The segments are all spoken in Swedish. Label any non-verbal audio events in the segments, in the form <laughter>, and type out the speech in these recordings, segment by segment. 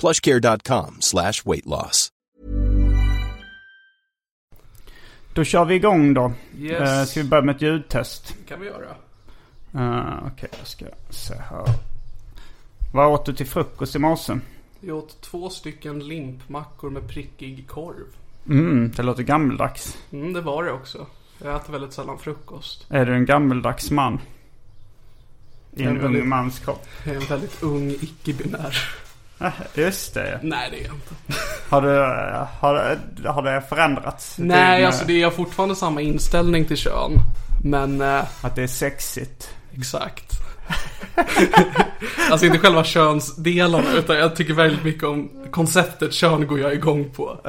plushcare.com slash weight loss. Då kör vi igång då. Yes. Eh, ska vi börja med ett ljudtest? kan vi göra. Eh, Okej, då ska jag se här. Vad åt du till frukost i morse? Vi åt två stycken limpmackor med prickig korv. Mm, det låter gammeldags. Mm, det var det också. Jag äter väldigt sällan frukost. Är du en gammeldags man? I Jag är en väldigt- ung mans kropp? Jag är en väldigt ung icke-binär. Eh, Just det. Nej, det är jag inte. Har, du, eh, har, har det förändrats? Nej, Din, alltså det är jag har fortfarande samma inställning till kön. Men eh, Att det är sexigt? exakt. <laughs> alltså inte själva könsdelarna utan jag tycker väldigt mycket om konceptet kön går jag igång på. Uh,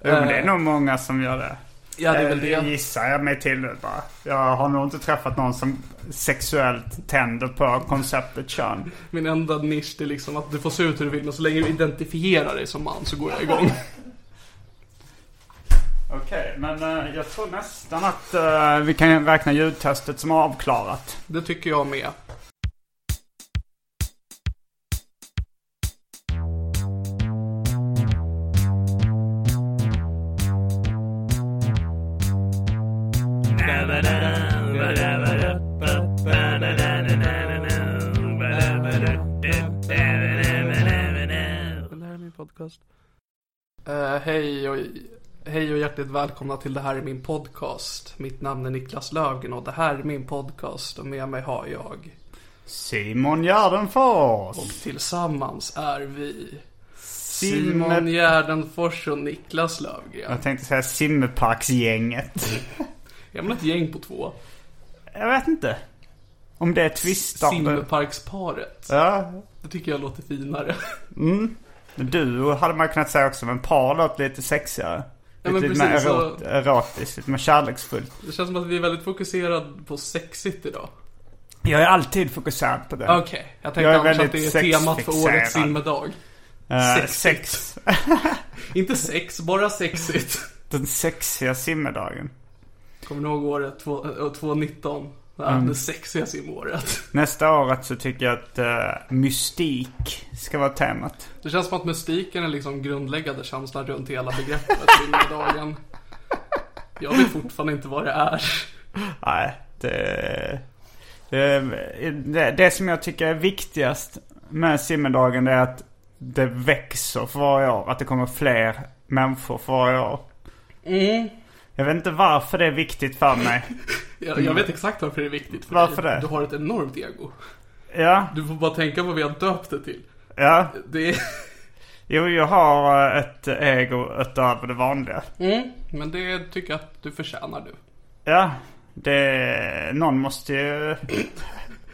men det är Eh. nog många som gör det. Ja, det är väl Eh, det. Gissar jag mig till nu bara. Jag har nog inte träffat någon som sexuellt tänder på konceptet kön. Min enda nisch det är liksom att du får se ut hur du vill men så länge du identifierar dig som man så går jag igång. Okej, men eh, jag tror nästan att eh, vi kan räkna ljudtestet som avklarat. Det tycker jag med. Det här är min podcast. Eh, hej, och, hej och hjärtligt välkomna till Det här är min podcast. Mitt namn är Niklas Löfgren och det här är min podcast och med mig har jag. Simon Gärdenfors! Tillsammans är vi Simon Simme... Gärdenfors och Niklas Löfgren. Jag tänkte säga Simmerparksgänget. Jag menar ett gäng på två. Jag vet inte. Om det är twistande. Simmerparksparet. Ja. Det tycker jag låter finare. <laughs> Duo hade man kunnat säga också, men par låter lite sexigare. Ja, men lite mer precis, erot- så- erotiskt, lite mer kärleksfullt. Det känns som att vi är väldigt fokuserade på sexigt idag. Jag är alltid fokuserad på det. Okej, jag tänkte Jag är annars att det väldigt är temat för årets sexfixerad. simmedag. Eh, sexigt. sex. Inte sex, bara sexigt. Den sexiga simmedagen. Kommer ni ihåg året två- eh, 2019? Ja, Det sexiga simåret. Nästa året så tycker jag att eh, mystik ska vara temat. <laughs> Det känns som att mystiken är liksom grundläggande känslan runt hela <laughs> begreppet simmedagen. Jag vet fortfarande inte vad det är. Nej, det, det, det, det som jag tycker är viktigast med simmedagen det är att det växer för varje år. Att det kommer fler människor för varje år. Mm. Jag vet inte varför det är viktigt för mig. Jag, jag vet exakt varför det är viktigt för Varför dig. det? Du har ett enormt ego. Ja, Du får bara tänka på vad vi har döpt det till. ja. Det är... Jo, jag har eh, ett ego utöver det vanliga. Men det tycker jag att du förtjänar du. Ja, det... Någon måste ju...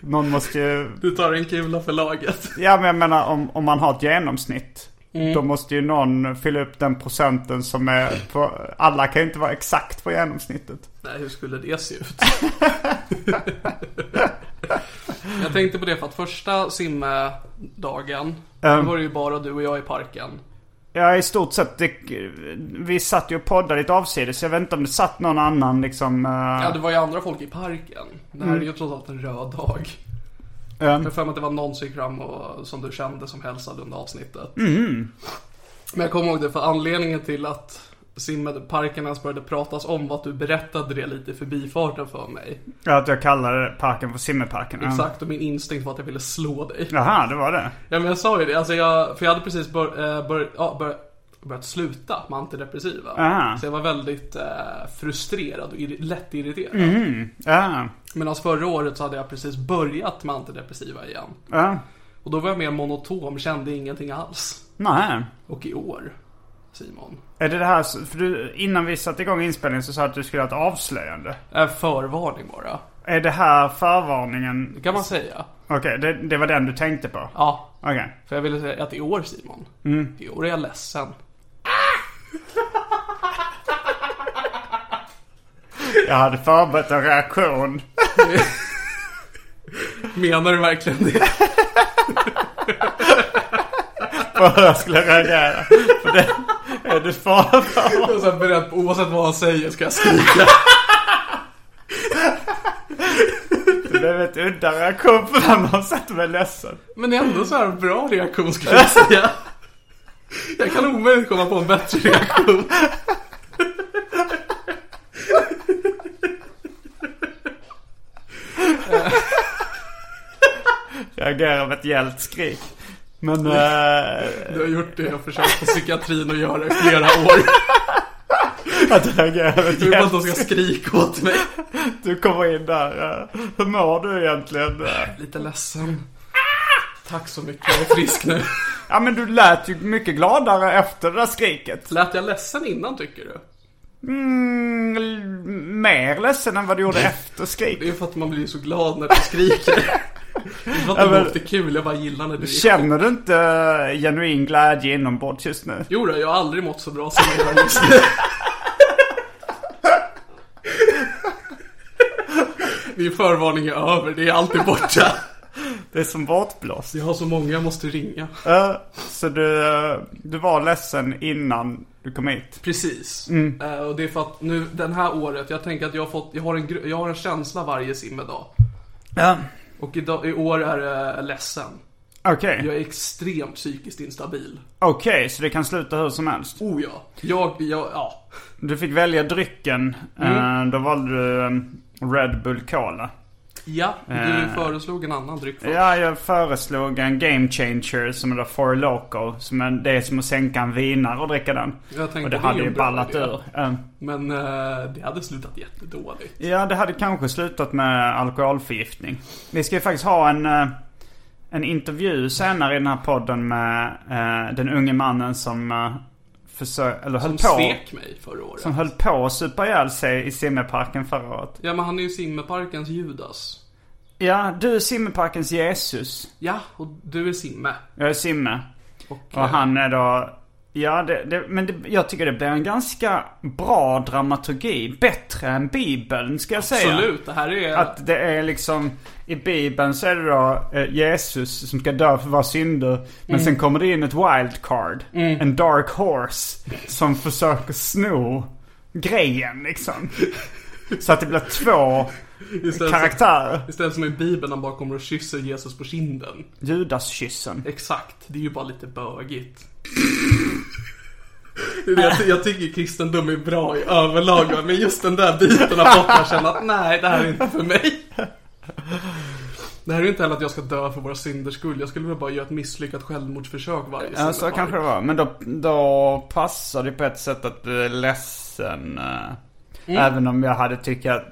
Någon måste ju... Du tar en kula för laget. Ja, men jag menar om, om man har ett genomsnitt. Mm. Då måste ju någon fylla upp den procenten som är på... Alla kan ju inte vara exakt på genomsnittet. Nej, hur skulle det <laughs> se ut? jag tänkte på det för att första simmedagen, då Ehm. var det ju bara du och jag i parken. Ja, i stort sett. Det, vi satt ju och poddade lite avsides. Jag vet inte om det satt någon annan liksom... eh, Ja, det var ju andra folk i parken. Det här är ju Mm. trots allt en röd dag. Ja. Jag har för mig att det var någon som gick fram och, som du kände som hälsade under avsnittet. Mm. Men jag kommer ihåg det, för anledningen till att simmedelparken ens började pratas om var att du berättade det lite i förbifarten för mig. ja, att jag kallade parken för simmerparken. ja. Exakt, och min instinkt var att jag ville slå dig. Jaha, det var det. Ja men jag sa ju det, alltså jag, för jag hade precis bör, eh, bör, ja, bör, börjat sluta med antidepressiva. Aha. Så jag var väldigt eh, frustrerad och ir- lätt irriterad. Ja, Medan förra året så hade jag precis börjat med antidepressiva igen. ja. Och då var jag mer monotom, kände ingenting alls. Nej. Och i år, Simon. Är det det här, s- för du, innan vi satte igång inspelningen så sa du att du skulle ha ett avslöjande. En förvarning bara. Är det här förvarningen? Det kan man säga. Okej, det, det var den du tänkte på? Ja, Okej. för jag ville säga att i år Simon, i år är jag ledsen. Jag hade förberett en reaktion. Menar du verkligen det? på hur jag skulle reagera. För det, är du förberedd? Jag är <laughs> så här beredd på oavsett vad han säger ska jag skrika. Det blev ett udda reaktion på när man sätter mig ledsen. Men det är ändå så här en bra reaktion skulle jag säga. Jag kan omöjligt komma på en bättre reaktion. Reagerar med ett gällt skrik. Men... eh, Du har gjort det jag har försökt på psykiatrin att göra i flera år. att reagera med ett Jag vill bara att de gällt ska skrika åt mig. Du kommer in där. eh, hur mår du egentligen? Eh, Lite ledsen. Tack så mycket, jag är frisk nu. Ja men du lät ju mycket gladare efter det där skriket. Lät jag ledsen innan tycker du? Mm, l- mer ledsen än vad du gjorde efter Det är skriket. för att man blir så glad när du skriker. Det är för att Ja, det men- låter kul, jag bara gillar när du är Känner du inte eh, genuin glädje inombords just nu? Jo då, jag har aldrig mått så bra som jag gör just nu. Min förvarning är över, det är alltid borta. Det är som bortblåst. Jag har så många jag måste ringa. Eh, Så du, eh, du var ledsen innan du kom hit? Precis. Eh, och det är för att nu, den här året, jag tänker att jag har, fått, jag har, en, gr- jag har en känsla varje simmedag. Ja. Och idag, i år är jag ledsen. Okej. Jag är extremt psykiskt instabil. Okej, så det kan sluta hur som helst. Oh ja. Jag, jag, ja. Du fick välja drycken. Eh, Då valde du eh, Red Bull Cola. Ja, du Eh. föreslog en annan dryck först. Ja, jag föreslog en Game Changer som är då Four Loco. Som är, det är som att sänka en vinare och dricka den. Jag tänkte, och det det är hade en ju bra ballat idé. ur. Eh, Men eh, det hade slutat jättedåligt. Ja, det hade kanske slutat med alkoholförgiftning. Vi ska ju faktiskt ha en, eh, en intervju senare i den här podden med eh, den unge mannen som eh, försö- eller höll Som på. svek mig förra året. Som höll på att supa ihjäl sig i simmerparken förra året. Ja, men han är ju simmeparkens Judas. Ja, du är simmerparkens Jesus. Ja, och du är simme. Jag är simme. Och, Och han är då... Ja, det, det, men det, jag tycker det blir en ganska bra dramaturgi. Bättre än Bibeln, ska jag säga. eh, Absolut, det här är... Att det är liksom, i Bibeln så är det då eh, Jesus som ska dö för våra synder. Men sen kommer det in ett wildcard. En dark horse. Som försöker sno grejen liksom. Så att det blir två istället, karaktärer. istället som i Bibeln, han bara kommer och kysser Jesus på kinden. Judaskyssen. Exakt, det är ju bara lite bögigt. Det är det Jag, ty- jag tycker kristendom är bra i överlag, va, men just den där biten har fått mig att känna att nej, det här är inte för mig. Det här är ju inte heller att jag ska dö för våra synders skull. Jag skulle väl bara göra ett misslyckat självmordsförsök varje Ja, så sinnedag. kanske det var. Men då, då passar det på ett sätt att du är ledsen. eh, Mm. Även om jag hade tyckt att...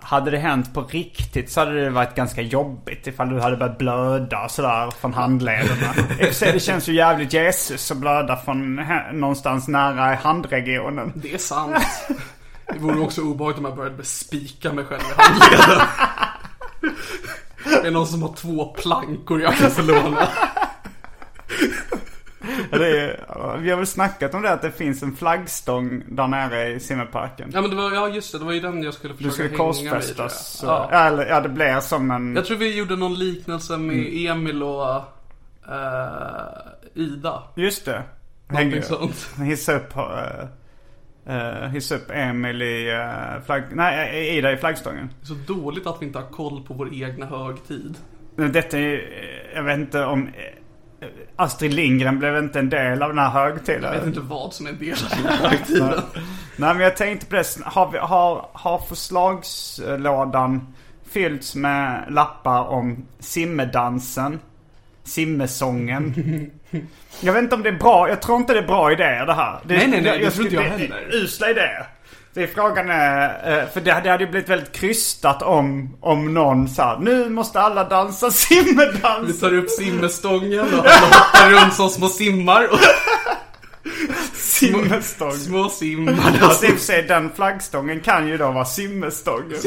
Hade det hänt på riktigt så hade det varit ganska jobbigt ifall du hade börjat blöda och sådär från <laughs> handlederna. I och för sig, det känns ju jävligt Jesus att blöda från hä- någonstans nära handregionen. Det är sant. Det vore också obehagligt om jag började bespika mig själv i handleden. Det är någon som har två plankor jag kan få låna. Det är, vi har väl snackat om det att det finns en flaggstång där nere i simmerparken. Ja men det var, ja just det, det var ju den jag skulle försöka Du skulle hänga mig i, tror jag. korsfästas. Ja. Ja. Eller ja, det blir som en... Jag tror vi gjorde någon liknelse med Emil och eh, Ida. Just det. Någonting sånt. <laughs> Hissa upp, eh, eh, hissa upp Emil i, eh, flagg, nej, eh, Ida i flaggstången. Så dåligt att vi inte har koll på vår egna högtid. Men Detta är ju, eh, jag vet inte om... eh, Astrid Lindgren blev inte en del av den här Jag vet högtiden. inte vad som är en del av den här högtiden. Nej men jag tänkte på det. Har, vi, har, har förslagslådan fyllts med lappar om simmedansen? Simmesången? <laughs> jag vet inte om det är bra. Jag tror inte det är bra idéer det här. Det, Nej, nej, nej, det skulle- tror inte jag det- heller. det är Usla idéer. Det är frågan är, eh, för det, det hade ju blivit väldigt krystat om, om någon sa nu måste alla dansa Vi simmedans. tar upp simmerstången och alla hoppar runt som små simmar. Och Simmestång. små simmar. Fast i och för sig den flaggstången kan ju då vara <laughs> simmerstången.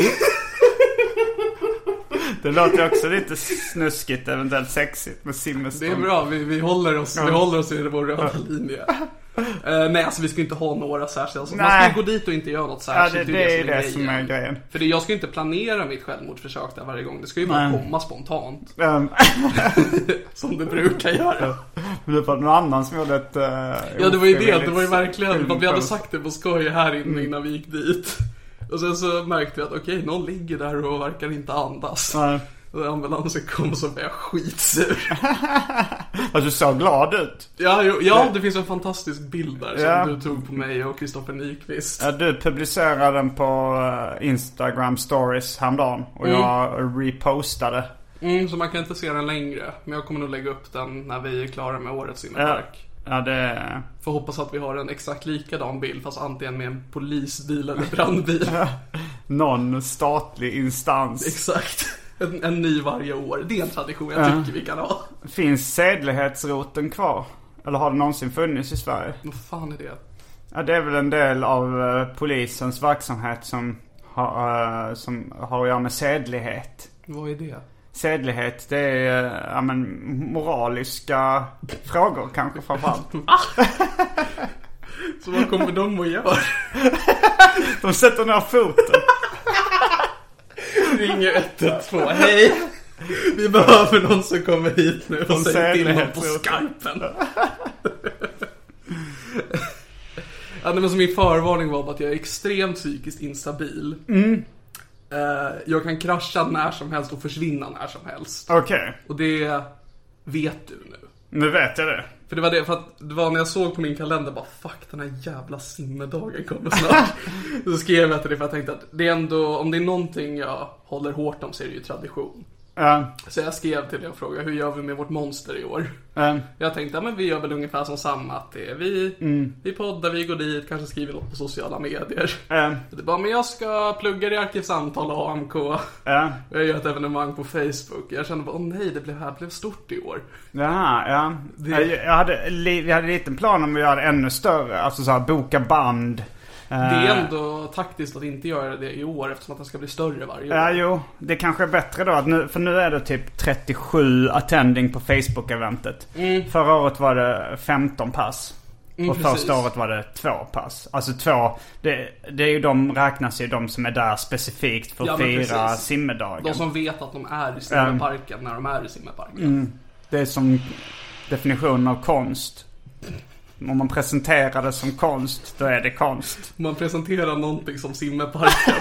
Det låter ju också lite snuskigt, eventuellt sexigt med Det är simmerstång. bra, vi, vi, håller, oss, vi håller oss i vår röda linje. Eh, nej, alltså vi ska inte ha några särskilda. alltså, Man ska Nej. ju gå dit och inte göra något Ja, särskilt. det, det är ju det som är grejen. För det, jag ska ju inte planera mitt självmordsförsök där varje gång. Det ska ju bara komma spontant. Ehm, <laughs> Som det brukar göra. Men det var någon annan som gjorde ett... eh, Ja, det var ju det. ofrivilligt Det var ju verkligen. För att vi hade skumkurs. sagt det på skoj här inne Mm. innan vi gick dit. Och sen så märkte vi att okej, någon ligger där och verkar inte andas. Nej. Och ambulansen kom och så blev jag skitsur. Fast Alltså, du såg glad ut. Ja, jo, ja, det finns en fantastisk bild där som Ja. du tog på mig och Kristoffer Nyqvist. Ja, Du publicerade den på eh, Instagram stories häromdagen. Och jag repostade. Mm, så man kan inte se den längre. Men jag kommer nog lägga upp den när vi är klara med årets simmepark. Ja, det... Får hoppas att vi har en exakt likadan bild fast antingen med en polisbil eller brandbil. Någon statlig instans. <laughs> exakt. En, en ny varje år. Det är en tradition jag Ja. tycker vi kan ha. Finns sedlighetsroten kvar? Eller har den någonsin funnits i Sverige? Vad fan är det? Ja, det är väl en del av eh, polisens verksamhet som har, eh, som har att göra med sedlighet. Vad är det? Sedlighet, det är eh, ja, men, moraliska frågor kanske framförallt. Så vad kommer de att <laughs> göra? De sätter ner foten. Ringer 112. Hej! Vi behöver någon som kommer hit nu och Som säger till säger någon det. på skarpen. ja, nej, men så min förvarning var bara att jag är extremt psykiskt instabil. Eh, jag kan krascha när som helst och försvinna när som helst. Okej, Och det vet du nu. nu vet jag det. För det var det, för att det var när jag såg på min kalender bara fuck den här jävla simmedagen kommer snart. så skrev jag till det för jag tänkte att det är ändå, om det är någonting jag håller hårt om så är det ju tradition. Ja, Så jag skrev till dig och frågade hur gör vi med vårt monster i år? ja. Jag tänkte, ja, men vi gör väl ungefär som samma att det är vi, vi poddar, vi går dit, kanske skriver något på sociala medier. Ja. Det bara, men jag ska plugga i arkivsamtal och AMK. ja. Jag gör ett evenemang på Facebook. Jag kände bara, åh nej, det blev, här blev stort i år. Jaha, ja. Det- Jag hade, li- jag hade en liten plan om att göra det ännu större. Alltså så här, boka band. Eh, Det är ändå taktiskt att inte göra det i år eftersom att den ska bli större varje år. Ja, jo. Det kanske är bättre då. Att nu, för nu är det typ 37 attending på Facebook-eventet. Förra året var det 15 pass. och Mm. precis. första året var det två pass. Alltså två. Det, det är ju de räknas ju de som är där specifikt för att Ja, men fira precis. simmedagen. De som vet att de är i simmeparken när de är i simmeparken. Det är som definitionen av konst. Om man presenterar det som konst, då är det konst. Om man presenterar någonting som simmeparken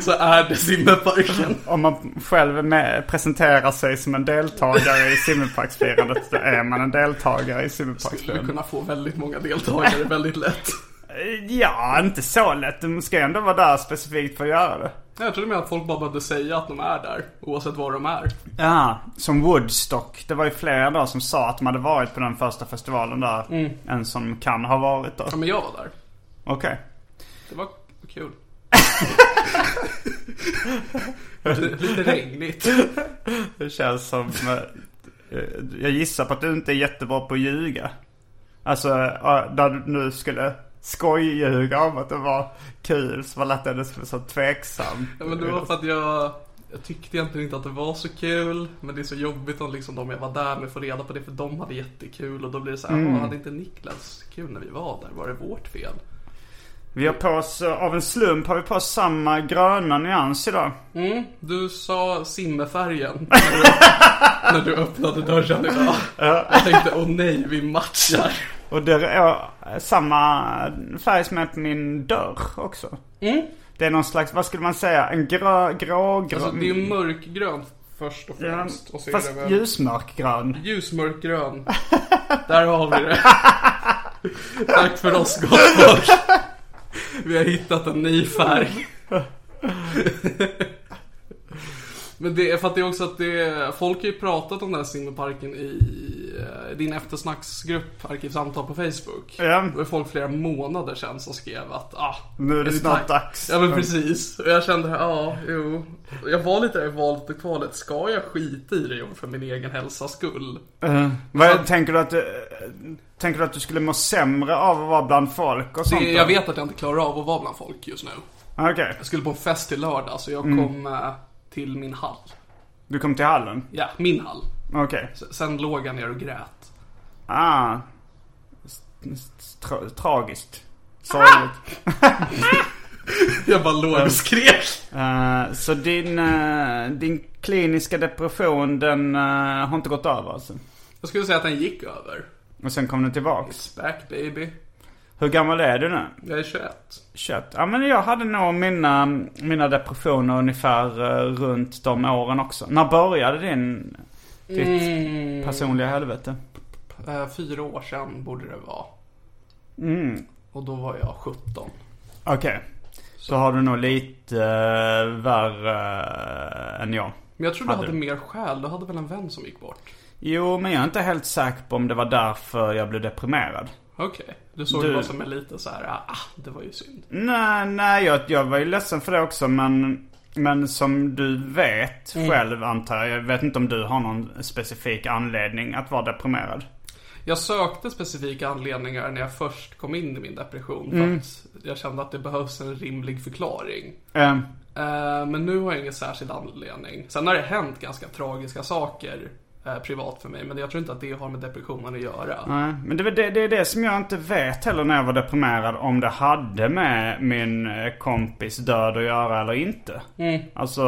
så är det simmeparken. Om man själv är med, presenterar sig som en deltagare i simmerparksfirandet, då är man en deltagare i Skulle simmerparksfirandet. kunna få väldigt många deltagare väldigt lätt. Eh, Ja, inte så lätt. Du ska ändå vara där specifikt för att göra det. Jag trodde mer att folk bara behövde säga att de är där, oavsett var de är. Ja, som Woodstock. Det var ju flera då som sa att de hade varit på den första festivalen där. Mm. Än som kan ha varit då. Ja, Okej. men jag var där. Det var kul. Lite regnigt. Det känns som... eh, eh, Jag gissar på att du inte är jättebra på att ljuga. Alltså, eh, när du nu skulle skojljuga om att det var kul så var det som så tveksam. Ja, men det var för att jag, jag tyckte egentligen inte att det var så kul. Men det är så jobbigt om liksom de jag var där med får reda på det för de hade jättekul. Och då blir det så här, Mm. "Åh, hade inte Niklas kul när vi var där? Var det vårt fel? Vi har på oss, eh, av en slump har vi på oss samma gröna nyans idag. Du sa simmerfärgen <laughs> när du, när du öppnade dörren idag. Jag tänkte, åh nej, vi matchar. Och det är eh, samma färg som är på min dörr också. Mm. Det är någon slags, vad skulle man säga, en grå, grå, grå Alltså det är ju mörkgrönt först och Ja, främst. och så fast är det väl ljusmörkgrön. ljusmörkgrön. Där har vi det. <laughs> Tack för oss gott folk. Vi har hittat en ny färg. <laughs> Men det är för att det är också att det är, folk har ju pratat om den här simmerparken i eh, din eftersnacksgrupp Arkivsamtal på Facebook. Ja. Det var folk flera månader sedan som skrev att ah, Nu är det vi snart tack- dags. Ja men precis. Och jag kände, ja, jo. Jag var lite i valet och kvalet. Ska jag skita i det för min egen hälsas skull? Eh, vad, Så- tänker, du att, eh, tänker du att du skulle må sämre av att vara bland folk och sånt? Det, då? Ah, jag vet att jag inte klarar av att vara bland folk just nu. Okej, Jag skulle på en fest till lördag så jag Mm. kom eh, till min hall. du kom till hallen? Ja, min hall. Okej. S- Sen låg jag ner och grät. <laughs> Ah. S- s- Tra- tragiskt. Sorgligt. Jag bara låg och skrek. Ah. Eh, så din, eh, din kliniska depression den eh, har inte gått över alltså? Jag skulle säga att den gick över. Och sen kom den tillbaks? It's back baby. Hur gammal är du nu? Jag är 21. Kött. Ja men jag hade nog mina, mina depressioner ungefär eh, runt de åren också. När började din, ditt Mm. personliga helvete? Eh, fyra år sedan borde det vara. Mm. Och då var jag 17. Okej. Så har du nog lite eh, värre eh, än jag. Men jag tror du Hade hade du? mer skäl. Du hade väl en vän som gick bort? Jo men jag är inte helt säker på om det var därför jag blev deprimerad. Okej. Du såg Du- det bara som en liten så här, ah, det var ju synd. Nej, nej jag, jag var ju ledsen för det också men, men som du vet själv antar jag. Jag vet inte om du har någon specifik anledning att vara deprimerad. Jag sökte specifika anledningar när jag först kom in i min depression. Mm. För att jag kände att det behövs en rimlig förklaring. Eh, Eh, men nu har jag ingen särskild anledning. Sen har det hänt ganska tragiska saker eh, privat för mig. Men jag tror inte att det har med depressionen att göra. Nej, men det, var det, det är det som jag inte vet heller när jag var deprimerad om det hade med min eh, kompis död att göra eller inte. Alltså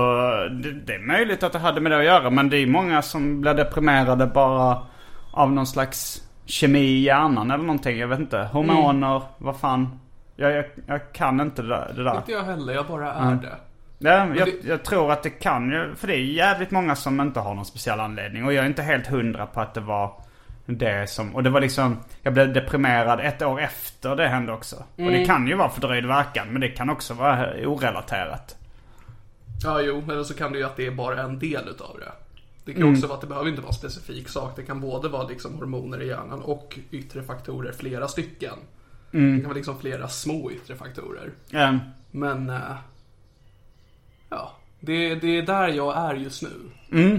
det, det är möjligt att det hade med det att göra men det är många som blir deprimerade bara av någon slags kemi i hjärnan eller någonting. Jag vet inte. Hormoner, vad fan. Jag, jag, jag kan inte det där. Det där. Inte jag heller, jag bara är det. Ja, jag, det- jag tror att det kan ju, för det är jävligt många som inte har någon speciell anledning. Och jag är inte helt hundra på att det var det som, och det var liksom, jag blev deprimerad ett år efter det hände också. Och det kan ju vara fördröjd verkan, men det kan också vara orelaterat. Ja, jo, eller så kan det ju att det är bara en del utav det. Det kan också vara att det behöver inte vara en specifik sak. Det kan både vara liksom hormoner i hjärnan och yttre faktorer, flera stycken. Det kan vara liksom flera små yttre faktorer. Ehm, Men, eh, ja. Det, det är där jag är just nu.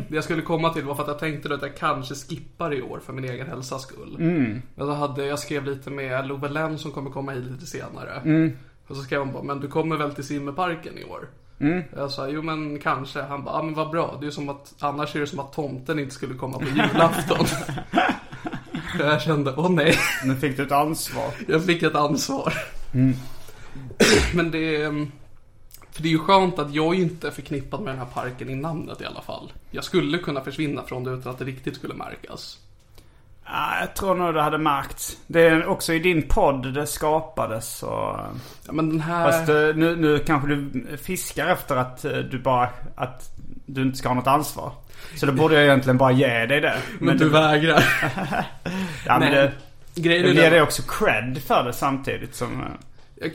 Det jag skulle komma till var för att jag tänkte att jag kanske skippar i år för min egen hälsas skull. Men så hade, jag skrev lite med Love Len som kommer komma hit lite senare. Och så skrev hon bara, men du kommer väl till simmerparken i år? Jag sa, jo men kanske. Han bara, ah, men vad bra. Det är ju som att, annars är det som att tomten inte skulle komma på julafton. <laughs> Så jag kände, åh nej. nu fick du ett ansvar. Jag fick ett ansvar. Mm. <clears throat> Men det... är- För det är ju skönt att jag är inte är förknippad med den här parken i namnet i alla fall. Jag skulle kunna försvinna från det utan att det riktigt skulle märkas. Ja, jag tror nog det hade märkts. Det är också i din podd det skapades så... Ja, men den här... Fast eh, nu, nu kanske du fiskar efter att eh, du bara, att du inte ska ha något ansvar. Så då borde jag egentligen bara ge dig det. men, du det- vägrar. <laughs> Ja, men Nej. det, <laughs> Grejen jag är ger den- dig också cred för det samtidigt som... eh,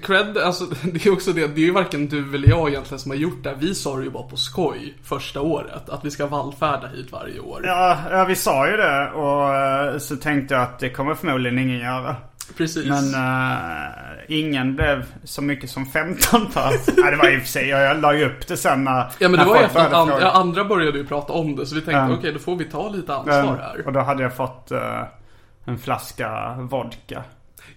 Cred, alltså <laughs> det är också det, det är ju varken du eller jag egentligen som har gjort det. här. Vi sa det ju bara på skoj första året, att vi ska vallfärda hit varje år. Ja, ja, vi sa ju det och eh, så tänkte jag att det kommer förmodligen ingen göra. Precis. Men eh, ingen blev så mycket som 15 <laughs> pers. Nej, det var i och för sig, jag, jag la ju upp det sen när ja men när det var ju folk efter att började and- fråga. ja, andra började ju prata om det, så vi tänkte Ja. okej, då får vi ta lite ansvar här. Och då hade jag fått eh, en flaska vodka.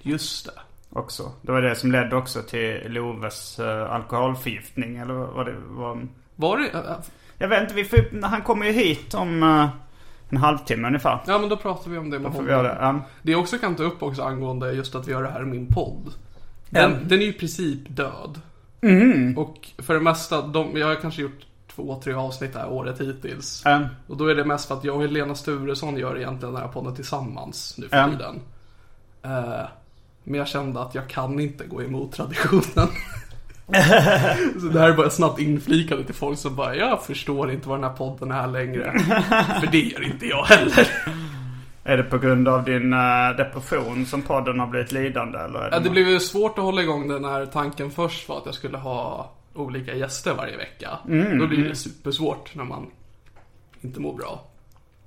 Just det. också. Det var det som ledde också till Loves eh, alkoholförgiftning eller vad det var. Var det? äh, Jag vet inte, vi får, han kommer ju hit om eh, en halvtimme ungefär. Ja men då pratar vi om det med Då får honom. vi göra det. Ja. Det jag också kan ta upp också angående just att vi gör det här i min podd. Den, den är ju i princip död. Mm. Och för det mesta, de, jag har kanske gjort två, tre avsnitt det här året hittills. Mm. Och då är det mest för att jag och Helena Sturesson gör egentligen den här podden tillsammans nu för Mm. tiden. Eh, Eh, men jag kände att jag kan inte gå emot traditionen. <laughs> så det här är bara snabbt inflikande till folk som bara, jag förstår inte vad den här podden är längre. <laughs> För det gör inte jag heller. Är det på grund av din eh, depression som podden har blivit lidande? Eller är det Ja, det något- blev ju svårt att hålla igång den här tanken först var att jag skulle ha olika gäster varje vecka. Då blir det supersvårt när man inte mår bra.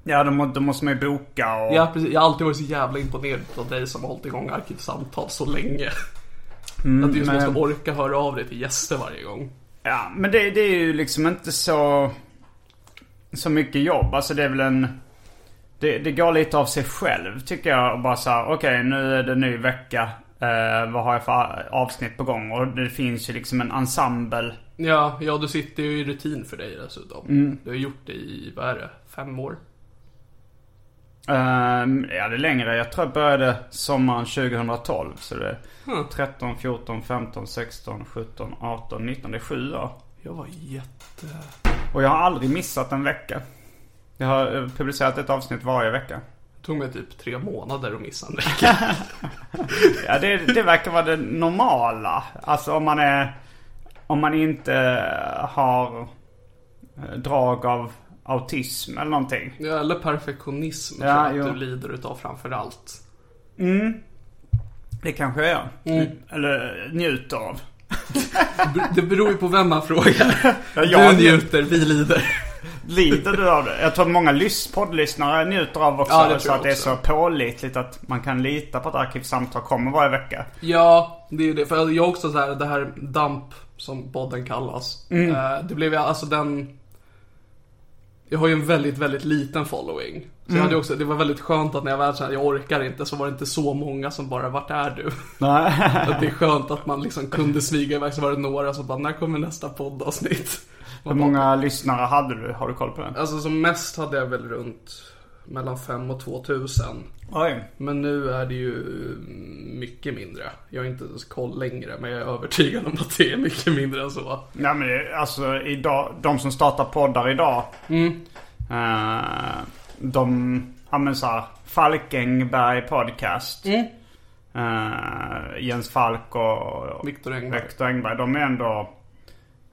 ja då, må, då måste man ju boka och... Ja, precis. Jag har alltid varit så jävla imponerad av dig som har hållit igång arkivsamtal så länge. att du just Mm, men- måste orka höra av dig till gäster varje gång. Ja, men det, det är ju liksom inte så... Så mycket jobb. Alltså det är väl en... Det, det går lite av sig själv tycker jag. Och bara så här, okej nu är det ny vecka. Eh, vad har jag för avsnitt på gång? Och det finns ju liksom en ensemble. Ja, ja, du sitter ju i rutin för dig dessutom. Mm. Du har gjort det i, vad är det, fem år? Ehm, ja, det är längre. Jag tror jag började sommaren 2012. Så det är 13, 14, 15, 16, 17, 18, 19. Det är sju år. Jag var jätte... Och jag har aldrig missat en vecka. Jag har eh, publicerat ett avsnitt varje vecka. Det tog mig typ tre månader att missa en vecka. <laughs> Ja, det, det verkar vara det normala. Alltså om man är... Om man inte har eh, drag av autism eller någonting. Ja, eller perfektionism Ja, tror jag jo. att du lider utav framförallt. Det kanske jag Mm. Eller eh, njuter av. Det beror ju på vem man frågar. <laughs> Ja, Du jag njuter. njuter, vi lider. Lider du av det? Jag tror att många lys- poddlyssnare njuter av också. Ja, det tror så jag att det är så också. pålitligt att man kan lita på att Arkivsamtal kommer varje vecka. Ja, det är ju det. För jag är också så här, det här damp som podden kallas. Eh, Det blev jag, alltså den... Jag har ju en väldigt, väldigt liten following. Så jag hade ju också, det var väldigt skönt att när jag väl kände jag orkar inte så var det inte så många som bara, vart är du? <laughs> att det är skönt att man liksom kunde smyga iväg så var det några som bara, när kommer nästa poddavsnitt? Hur många lyssnare hade du? Har du koll på det? Alltså som mest hade jag väl runt mellan 5 och 2000. Oj. Men nu är det ju mycket mindre. Jag har inte ens koll längre, men jag är övertygad om att det är mycket mindre än så. Nej men det- alltså idag, de som startar poddar idag. Mm. Eh, de, ja men så här, Falkenberg podcast. Mm. Eh, Jens Falk och Viktor Engberg. Viktor Engberg. De är ändå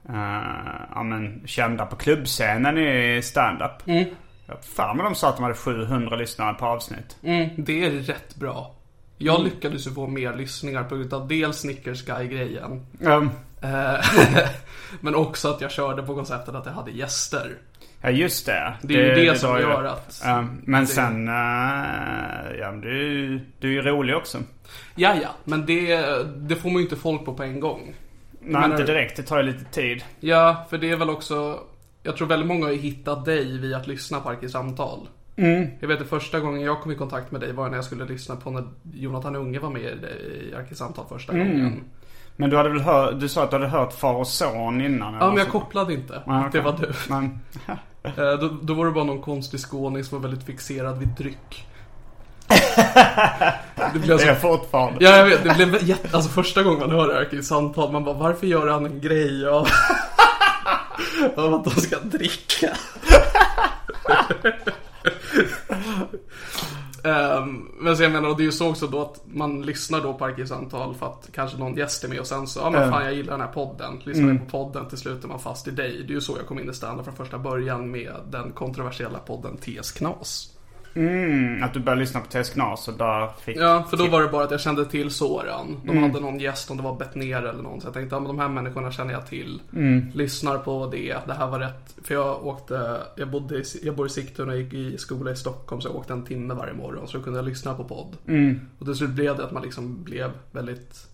eh, ja, men, kända på klubbscenen i standup. Mm. Jag fan men de sa att de hade 700 lyssnare per avsnitt. Mm. Det är rätt bra. Jag lyckades ju få mer lyssningar på grund av dels Snickers Guy-grejen, Ehm, eh, <laughs> men också att jag körde på konceptet att jag hade gäster. Ja just det. Det är ju det som var ju- gör att- Ja, men det- sen... eh, ja, men du, är ju- du är ju rolig också. Ja, ja, men det, det får man ju inte folk på på en gång. Nej Menar inte du? direkt. Det tar ju lite tid. Ja, för det är väl också... Jag tror väldigt många har ju hittat dig via att lyssna på Arkivsamtal. Mm. Jag vet att första gången jag kom i kontakt med dig var när jag skulle lyssna på när Jonathan Unge var med i det- i Arkivsamtal första Mm. gången. Men du hade väl hört... Du sa att du hade hört far och son innan? eller Ja, men jag så. kopplade inte Ja, att det okej. var du. Men, Eh, Då, då var det bara någon konstig skåning som var väldigt fixerad vid <laughs> dryck. Det alltså blev det så... är fortfarande. <laughs> Ja, jag vet. Det blev jätte... Alltså första gången man hör Arkivsamtal, man bara varför gör han en grej av... <laughs> av att de ska dricka? <laughs> Ehm, men så jag menar, och det är ju så också då att man lyssnar då på arkivsamtal för att kanske någon gäst är med och sen så, ja men fan jag gillar den här podden. Lyssnar jag på podden till slut är man fast i dig. Det är ju så jag kom in i standup från första början med den kontroversiella podden TS Knas. Mm, att du började lyssna på TS Knas och där fick... Ja, för då var det bara att jag kände till Soran. De hade någon gäst, om det var Bettner eller någon. Så jag tänkte, ja men de här människorna känner jag till. Lyssnar på det, det här var rätt. För jag åkte, jag bodde i, jag bor i Sigtuna, jag gick i skola i Stockholm. Så jag åkte en timme varje morgon. Så då kunde jag lyssna på podd. Och till slut blev det att man liksom blev väldigt...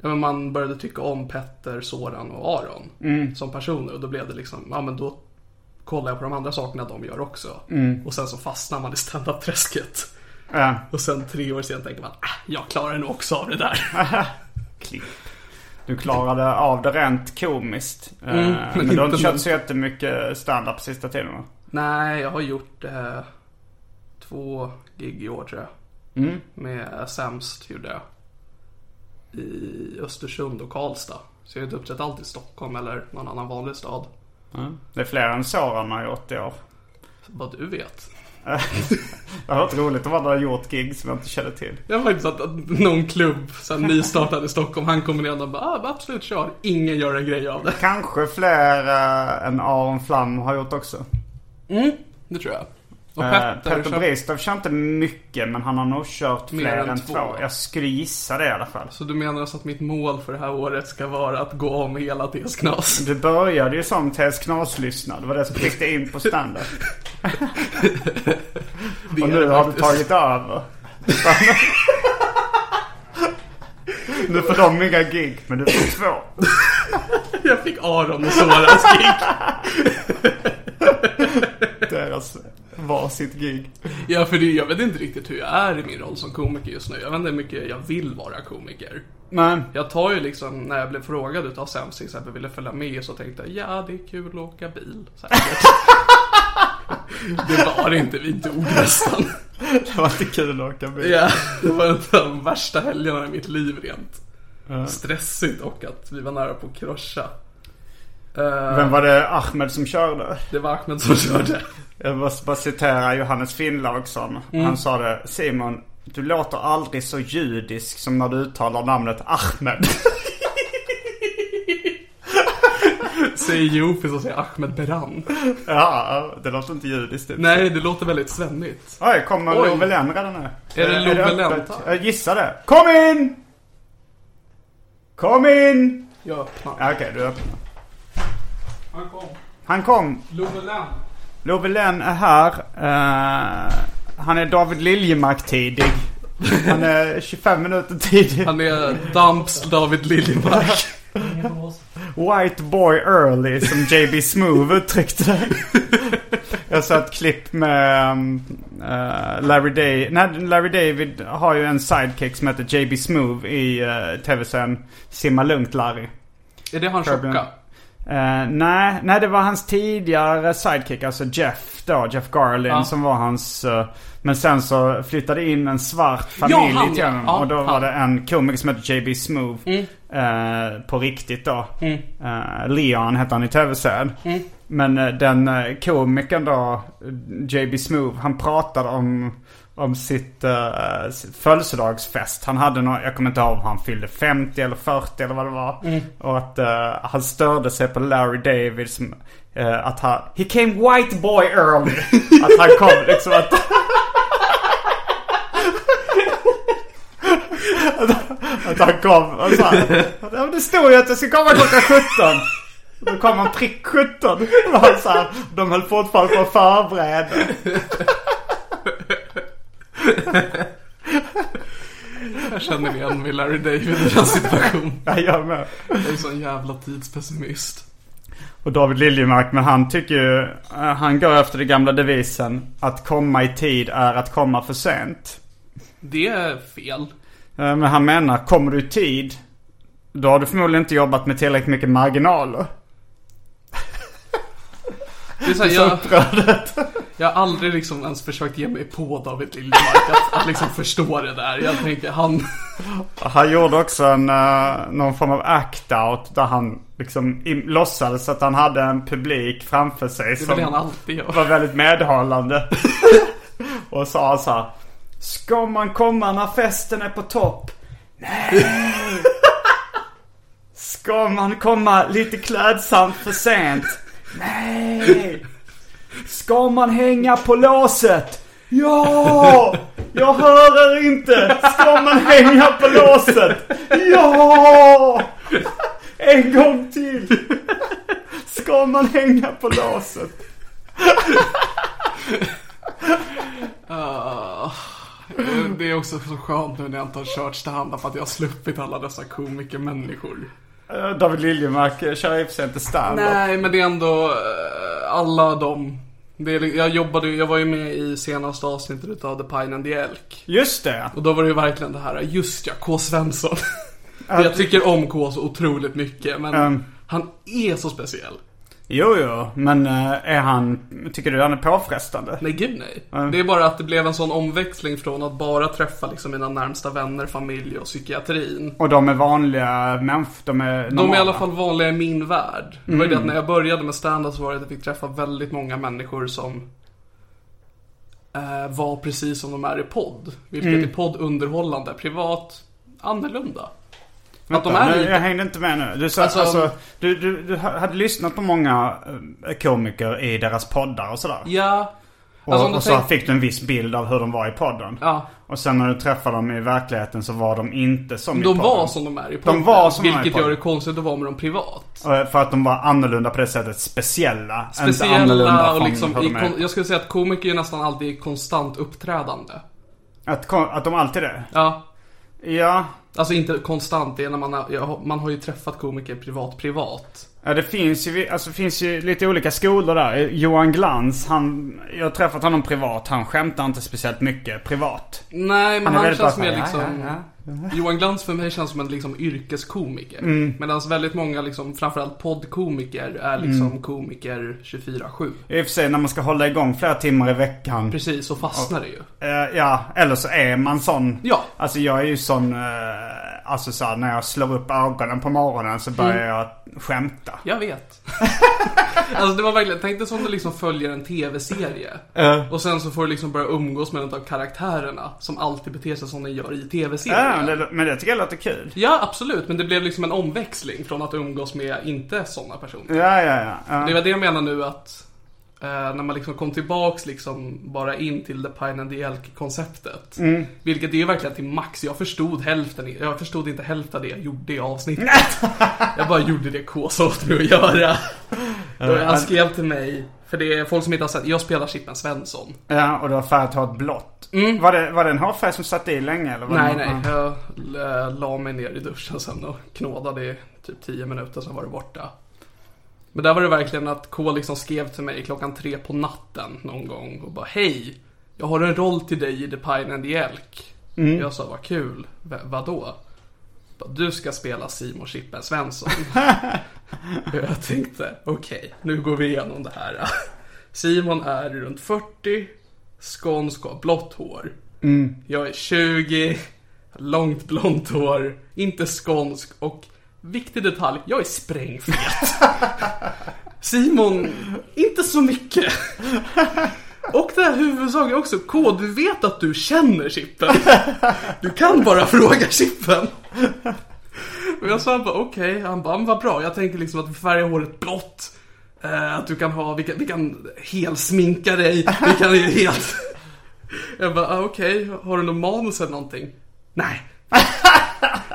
Ja, men man började tycka om Petter, Soran och Aron som personer. Och då blev det liksom, ja men då kollar jag på de andra sakerna de gör också. Och sen så fastnar man i standup-träsket. Ja, Och sen tre år senare tänker man, ah, jag klarar nog också av det där. klipp. Du klarade av det rent komiskt. Eh, men du har inte inte kört Mm, men- så jättemycket standup sista tiden va? <laughs> Nej, jag har gjort eh, två gig i år tror jag. Mm. Med Sämst gjorde jag. I Östersund och Karlstad. Så jag har inte uppträtt allt i Stockholm eller någon annan vanlig stad. Det är fler än Soran har gjort i år. Vad du vet. <laughs> det har varit roligt om han hade gjort gig som jag inte kände till. Jag var inte att, att någon klubb sen nystartad i Stockholm, han kommer ner och bara ah, absolut kör. Ingen gör en grej av det. Kanske fler eh, än Aron Flam har gjort också. Mm, det tror jag. Och Eh, Petter, Petter kör- Bristov kör inte mycket men han har nog kört Mer fler än än, två. två. Jag skulle gissa det i alla fall. Så du menar alltså att mitt mål för det här året ska vara att gå om hela TS Knas? Du började ju som TS Knas-lyssnare. Det var det som fick dig in på <laughs> standard. Det Och är nu det har du faktiskt. tagit över. nu får de inga gig men du får två. Jag fick Aron och Sorans gig. Deras varsitt gig. <laughs> Ja, för det, jag vet inte riktigt hur jag är i min roll som komiker just nu. Jag vet inte hur mycket jag vill vara komiker. Men Jag tar ju liksom, när jag blev frågad utav Sam till exempel, ville följa med så tänkte jag ja, det är kul att åka bil. Säkert. <laughs> det var det inte, vi dog nästan. det var inte kul att åka bil. Ja, det var en av de värsta helgerna i mitt liv rent. Stressigt och att vi var nära på att kroscha. Eh, Vem var det Ahmed som körde? Det var Ahmed som körde. Jag måste bara citera Johannes Finnlaugsson. Mm. Han sa det. Simon, du låter aldrig så judisk som när du uttalar namnet <laughs> Ahmed. Säger Jofi så säger Ahmed Beran. ja, det låter inte judiskt. ut. Nej, det låter väldigt svennigt. Oj, kommer Oj. Love Lenn redan nu? Är det Love Lenn? öppet? Jag gissar det. Kom in! Kom in! Jag öppnar. Ja, Okej, du öppnar. Han kom. Han kom. Love Lam. Love Lenn är här. Eh, han är David Liljemark-tidig. Han <laughs> är 25 minuter tidig. Han är Damps David Liljemark. White boy early som JB Smoove uttryckte det. Jag såg ett klipp med um, eh, Larry David. Nej, Larry David har ju en sidekick som heter JB Smoove i eh, tv-serien Simma Lugnt Larry. Är det han Fabian. tjocka? Eh, nej, nej, det var hans tidigare sidekick, alltså Jeff då, Jeff Garlin Ja. som var hans... eh, men sen så flyttade in en svart familj han, till ja. honom. Ja, Mm. och då han. var det en komiker som hette JB Smoove. eh, på riktigt då. Mm. Eh, Leon hette han i tv-serien. Men eh, den eh, komikern då, JB Smoove, han pratade om... Om sitt, eh, sitt födelsedagsfest. Han hade någon, jag kommer inte ihåg om han fyllde 50 eller 40 eller vad det var. Mm. Och att eh, han störde sig på Larry David som, eh, att han, he came white boy early. <laughs> att han kom liksom att, att han kom och sa, ja, men det stod ju att jag ska komma klockan 17. Då kom han prick 17. Och han så här, de höll fortfarande på att förbereda. Jag känner igen mig Larry David i den situationen. Ja, jag med. Jag är sån jävla tidspessimist. Och David Liljemark, men han tycker ju, eh, han går efter den gamla devisen att komma i tid är att komma för sent. Det är fel. Eh, Men han menar, kommer du i tid, då har du förmodligen inte jobbat med tillräckligt mycket marginaler. Det är så här, jag, jag har aldrig liksom ens försökt ge mig på David Liljemark att, att liksom förstå det där. Jag tänker han... Han gjorde också en, eh, någon form av act-out där han liksom i, låtsades att han hade en publik framför sig Det är väl som det han alltid gör. <laughs> var väldigt medhållande. Och sa så här. Ska man komma när festen är på topp? Nej! Ska man komma lite klädsamt för sent? Nej! Ska man hänga på låset? Ja! Jag hör er inte! Ska man hänga på låset? Ja! En gång till! Ska man hänga på låset? Ah, det är också så skönt nu när jag inte har kört stand-up att jag har sluppit alla dessa komikermänniskor. Eh, David Liljemark eh, kör i och för sig inte standup. Nej, men det är ändå eh, alla de. Det är, jag jobbade ju- jag var ju med i senaste avsnittet utav The Pine and the Elk. Just det. Och då var det ju verkligen det här, just ja, K. Svensson. <laughs> jag tycker om K så otroligt mycket, men Mm. han är så speciell. Jo, jo. Men eh, är han... Tycker du han är påfrestande? Nej, gud nej. Det är bara att det blev en sån omväxling från att bara träffa liksom mina närmsta vänner, familj och psykiatrin. Och de är vanliga människor? De är normala? Mm. De är i alla fall vanliga i min värld. Det var ju det att när jag började med stand-up så var det att jag fick träffa väldigt många människor som eh, var precis som de är i podd. Vilket Mm. i podd underhållande, privat annorlunda. Att de Vänta, är nu- lite- Jag hängde inte med nu. Du, sa, Alltså- alltså, du, du, du hade lyssnat på många eh, komiker i deras poddar och sådär. Ja, Och, alltså om du och så tänk- fick du en viss bild av hur de var i podden. ja. Och sen när du träffade dem i verkligheten så var de inte som i De podden. var som de är i podden. var som de är i vilket podden. gör det konstigt att vara med dem privat. Eh, För att de var annorlunda på det sättet. Speciella. inte Speciella annorlunda och från liksom, hur i, de är. kon- jag skulle säga att komiker är nästan alltid i konstant uppträdande. Att, kon- att de alltid är Ja, det. Ja. alltså inte konstant, det är när man har, jag har- man har ju träffat komiker privat privat. Ja det finns ju, vi- alltså, det finns ju lite olika skolor där. Eh, Johan Glans, han, jag har träffat honom privat. Han skämtar inte speciellt mycket privat. Nej, men är han, väldigt känns bara så mer här, liksom... ja, Mm. Johan Glans för mig känns som en liksom yrkeskomiker. Medan väldigt många, liksom, framförallt poddkomiker, är liksom Mm. komiker 24-7. I och för sig när man ska hålla igång flera timmar i veckan. Precis, så fastnar det ju. Eh, ja, eller så är man sån. Ja. Alltså jag är ju sån, eh, alltså så här, när jag slår upp ögonen på morgonen så börjar Mm. jag skämta. Jag vet. <laughs> alltså det var verkligen, tänk dig som du liksom följer en tv-serie. Och sen så får du liksom börja umgås med en av karaktärerna som alltid beter sig som de gör i Ja, tv-serien. det, men det tycker jag låter kul. Ja, absolut. Men det blev liksom en omväxling från att umgås med inte sådana personer. Ja, ja, ja. ja. Det var det jag menar nu att eh, när man liksom kom tillbaks liksom bara in till the pine and the elk konceptet. Vilket är ju verkligen till max. Jag förstod hälften. i- Jag förstod inte hälften av det jag gjorde i avsnittet. <laughs> jag bara gjorde det Kåsa åt mig att göra. Då han skrev till mig. För det är folk som inte har sett. Jag spelar Chippen Svensson. ja och det var färgat hårt blått. Var, det, var det en hårfärg som satt i länge eller? Var Mm. Nej, det, någon- nej. Jag la- la mig ner i duschen sen och knådade i typ 10 minuter, sen var det borta. Men där var det verkligen att K liksom skrev till mig klockan tre på natten någon gång och bara Hej! Jag har en roll till dig i The Pine and the Elk. Jag sa vad kul. V- vadå? Bara, Du ska spela Simon Chippen <laughs> Svensson. Och jag tänkte okej, nu går vi igenom det här. <laughs> Simon är runt 40, skånsk och har blått hår. Jag är 20, långt blont hår, inte skånsk och viktig detalj, jag är sprängfet. Simon, inte så mycket. Och det här huvudsaken också, K, du vet att du känner Chippen. Du kan bara fråga Chippen. Och jag sa bara okej, han bara "Men vad bra, jag tänker liksom att vi färgar håret blått. Eh, att du kan ha, vi kan, vi kan helsminka dig, vi kan ju helt... Jag bara, ah, okej, har du någon manus eller någonting? <laughs> Nej.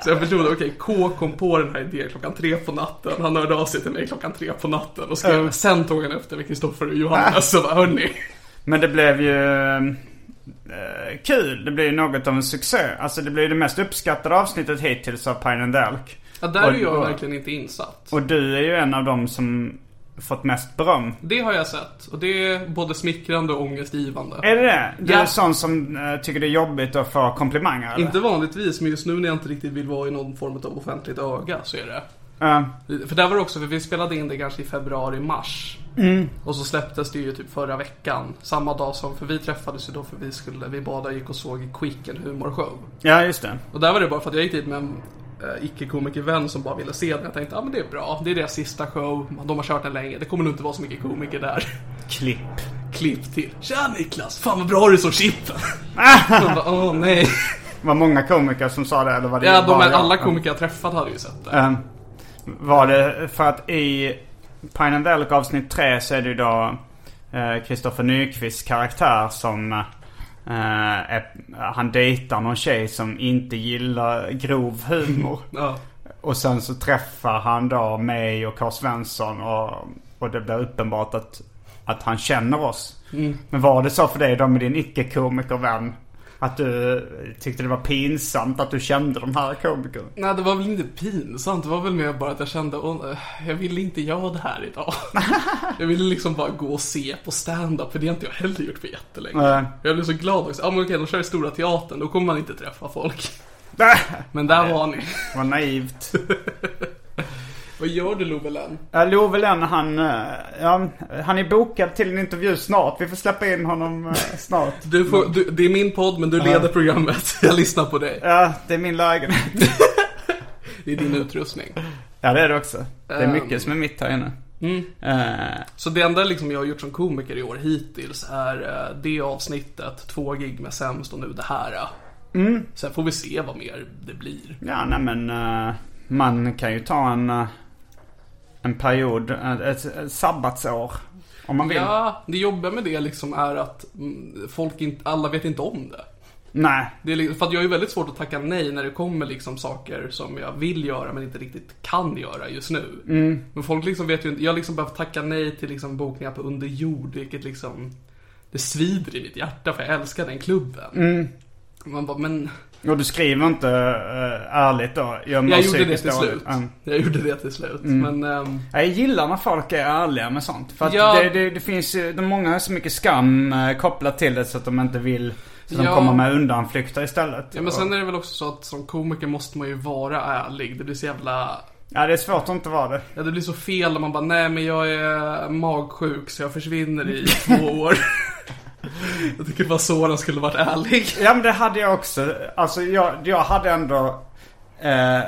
Så jag förstod, okej, K kom på den här idén klockan tre på natten. Han hörde av sig till mig klockan tre på natten och skrev sen tog han efter med Kristoffer och Johannes och bara, hörni. Men det blev ju eh, kul. Det blev ju något av en succé. Alltså det blev ju det mest uppskattade avsnittet hittills av Pine and Elk. Ja, där är Och- jag verkligen inte insatt. Och du är ju en av dem som fått mest beröm. Det har jag sett och det är både smickrande och ångestgivande. Är det det? Du Ja. är sån som eh, tycker det är jobbigt att få komplimanger eller? Inte vanligtvis, men just nu när jag inte riktigt vill vara i någon form av offentligt öga så är det. Ja. För där var det också, för vi spelade in det kanske i februari, mars. Mm. Och så släpptes det ju typ förra veckan. Samma dag som, för vi träffades ju då för vi skulle, vi båda gick och såg i Quick en humorshow. ja, just det. Och där var det bara för att jag gick dit med en eh, icke-komikervän som bara ville se den. Jag tänkte, ja ah, men det är bra, det är deras sista show, de har kört den länge, det kommer nog inte vara så mycket komiker där. <laughs> Klipp. Klipp till. Tja Niklas, fan vad bra du är <laughs> som Chippen! Man bara, åh nej. Var många komiker som sa det eller var det Ja, de bara här, jag? alla komiker jag träffat hade ju sett det. Eh, var det för att i Pine and Elk avsnitt 3 så är det ju då Kristoffer Nyqvists karaktär som eh, är, han dejtar någon tjej som inte gillar grov humor. Ja. Och sen så träffar han då mig och Carl Svensson och, och det blir uppenbart att, att han känner oss. Men var det så för dig då med din icke-komikervän? Att du tyckte det var pinsamt att du kände de här komikerna? Nej, det var väl inte pinsamt. Det var väl mer bara att jag kände, "Åh, eh, jag vill inte göra det här idag. jag ville liksom bara gå och se på stand-up, för det har inte jag heller gjort på jättelänge. Nej. Jag blev så glad också. Ja, men okej, de kör i Stora Teatern, då kommer man inte träffa folk. <laughs> Det Men där var ni. var naivt. Vad gör du, Lovelen? Ja, Love Lenn, han, eh, ja, han är bokad till en intervju snart. Vi får släppa in honom eh, snart. Du får, du, det är min podd, men du leder programmet. <laughs> Jag lyssnar på dig. Ja, det är min lägenhet. Det är din utrustning. Ja, det är det också. Det är mycket som är mitt här inne. Mm. Eh, Så det enda liksom jag har gjort som komiker i år hittills är eh, det avsnittet, två gig med sämst och nu det här. Mm. Sen får vi se vad mer det blir. Ja, nej men eh, man kan ju ta en, eh, en period, eh, ett, ett sabbatsår. Om man vill. Ja, det jobbiga med det liksom är att mm, folk inte, alla vet inte om det. Nej, det är, liksom- för att jag är ju väldigt svårt att tacka nej när det kommer liksom saker som jag vill göra men inte riktigt kan göra just nu. Men folk liksom vet ju inte, jag har liksom behövt tacka nej till liksom bokningar på Under jord vilket liksom, det svider i mitt hjärta för jag älskar den klubben. Mm. Man bara, men och du skriver inte eh, ärligt då? Jag, mår jag gjorde det psykiskt till dåligt. slut. Mm. Jag gjorde det till slut. Men, ehm, Jag gillar när folk är ärliga med sånt. För att Ja. det, det, det finns ju, de många har så mycket skam eh, kopplat till det så att de inte vill. Så de Ja. kommer med undanflykter istället. ja, men sen är det väl också så att som komiker måste man ju vara ärlig. Det blir så jävla ja, det är svårt att inte vara det. Ja, det blir så fel när man bara, nej men jag är magsjuk så jag <laughs> försvinner i två år. <laughs> jag tycker bara så den skulle varit ärlig. Ja men det hade jag också. Alltså jag, jag hade ändå... Eh,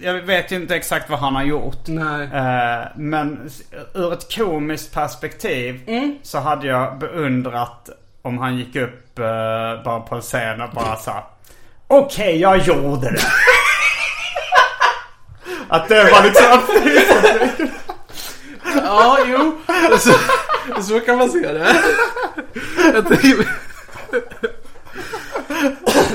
jag vet ju inte exakt vad han har gjort. Nej. Eh, men s- ur ett komiskt perspektiv så hade jag beundrat om han gick upp eh, bara på en scen och bara sa Okej, jag gjorde det. att det var liksom... Ja, jo. Så, så kan man se det. Jag tycker...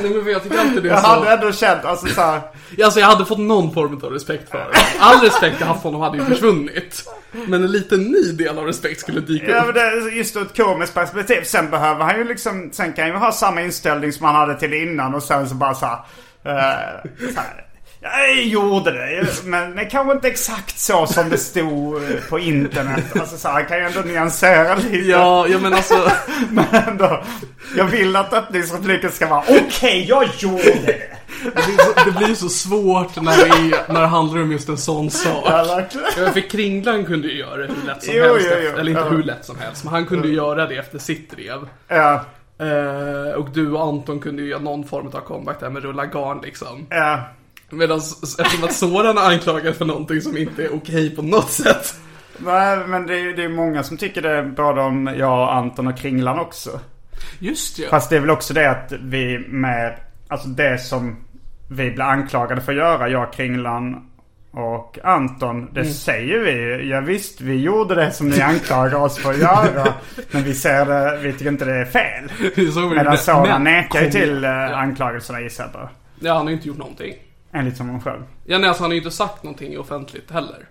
Nej men jag tycker alltid det jag är hade så. ändå känt alltså så här, Alltså jag hade fått någon form av respekt för det. All respekt jag haft för honom hade ju försvunnit. Men en liten ny del av respekt skulle dyka Ja, men upp. det är just ur ett komiskt perspektiv. Sen behöver han ju liksom, sen kan han ju ha samma inställning som han hade till innan och sen så bara så här, eh, så här jag gjorde det, men det kanske inte exakt så som det stod eh, på internet. Alltså så här, han kan ju ändå nyansera lite. Ja, jag menar alltså. Men ändå, jag vill att öppningsrepliken ska vara okej, jag gjorde det. Det blir så- Det blir så svårt när det, är, när det handlar om just en sån sak. Ja, verkligen. Ja, för Kringlan kunde ju göra det hur lätt som Jo, helst. jo, efter- jo. Eller inte Ja. hur lätt som helst, men han kunde ju göra det efter sitt drev. Ja, Eh, och du och Anton kunde ju göra någon form av comeback där med rulla garn liksom. ja. Medan eftersom att Soran är anklagad för någonting som inte är okej på något sätt. Nej, men det är, det är många som tycker det, både om jag, Anton och Kringlan också. Just ja. Fast det är väl också det att vi med, alltså det som vi blir anklagade för att göra, jag, Kringlan och Anton, Mm. det säger vi ju. Ja, visst, vi gjorde det som ni anklagar oss för att <laughs> göra. men vi ser det, vi tycker inte det är fel. Det såg vi Medan med- Soran men- nekar ju till eh, Ja. anklagelserna gissar jag på. ja, han har ju inte gjort någonting. Enligt honom själv. Ja, nej, alltså han har ju inte sagt någonting offentligt heller.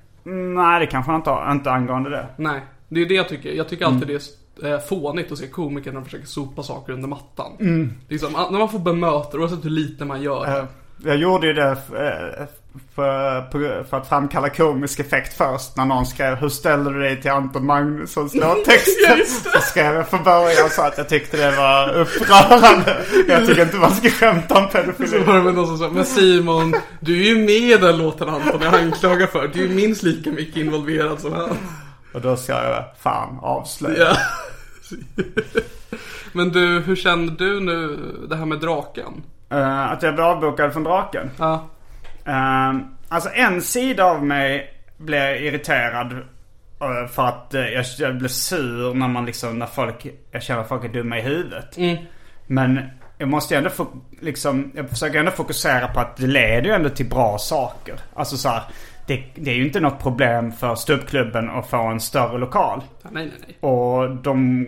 Nej, det kanske han inte har, inte angående det. Nej, det är det jag tycker. Jag tycker alltid det är eh, fånigt att se komiker när de försöker sopa saker under mattan. Liksom, när man får bemöta, oavsett hur lite man gör. <laughs> Eh, Jag gjorde ju det eh, för, på- för att framkalla komisk effekt först när någon skrev Hur ställer du dig till Anton Magnussons låttext? <laughs> Ja, just det. så skrev jag från början så att jag tyckte det var upprörande. Jag tycker inte man ska skämta om Så var <laughs> pedofili. det väl någon som sa, men Simon, du är ju med i den låten Anton är anklagad för. Du är ju minst lika mycket involverad som han. Och då skrev jag fan avslöja. Ja. Men du, hur känner du nu det här med draken? Eh, att jag blev avbokad från draken. Ja, Ehm, alltså en sida av mig blev irriterad eh, för att eh, jag, jag blev sur när man liksom, när folk, jag känner att folk är dumma i huvudet. Men jag måste ju ändå få, liksom, jag försöker ändå fokusera på att det leder ju ändå till bra saker. Alltså så här, det, det är ju inte något problem för ståuppklubben att få en större lokal. Ja, nej, nej, nej. Och de,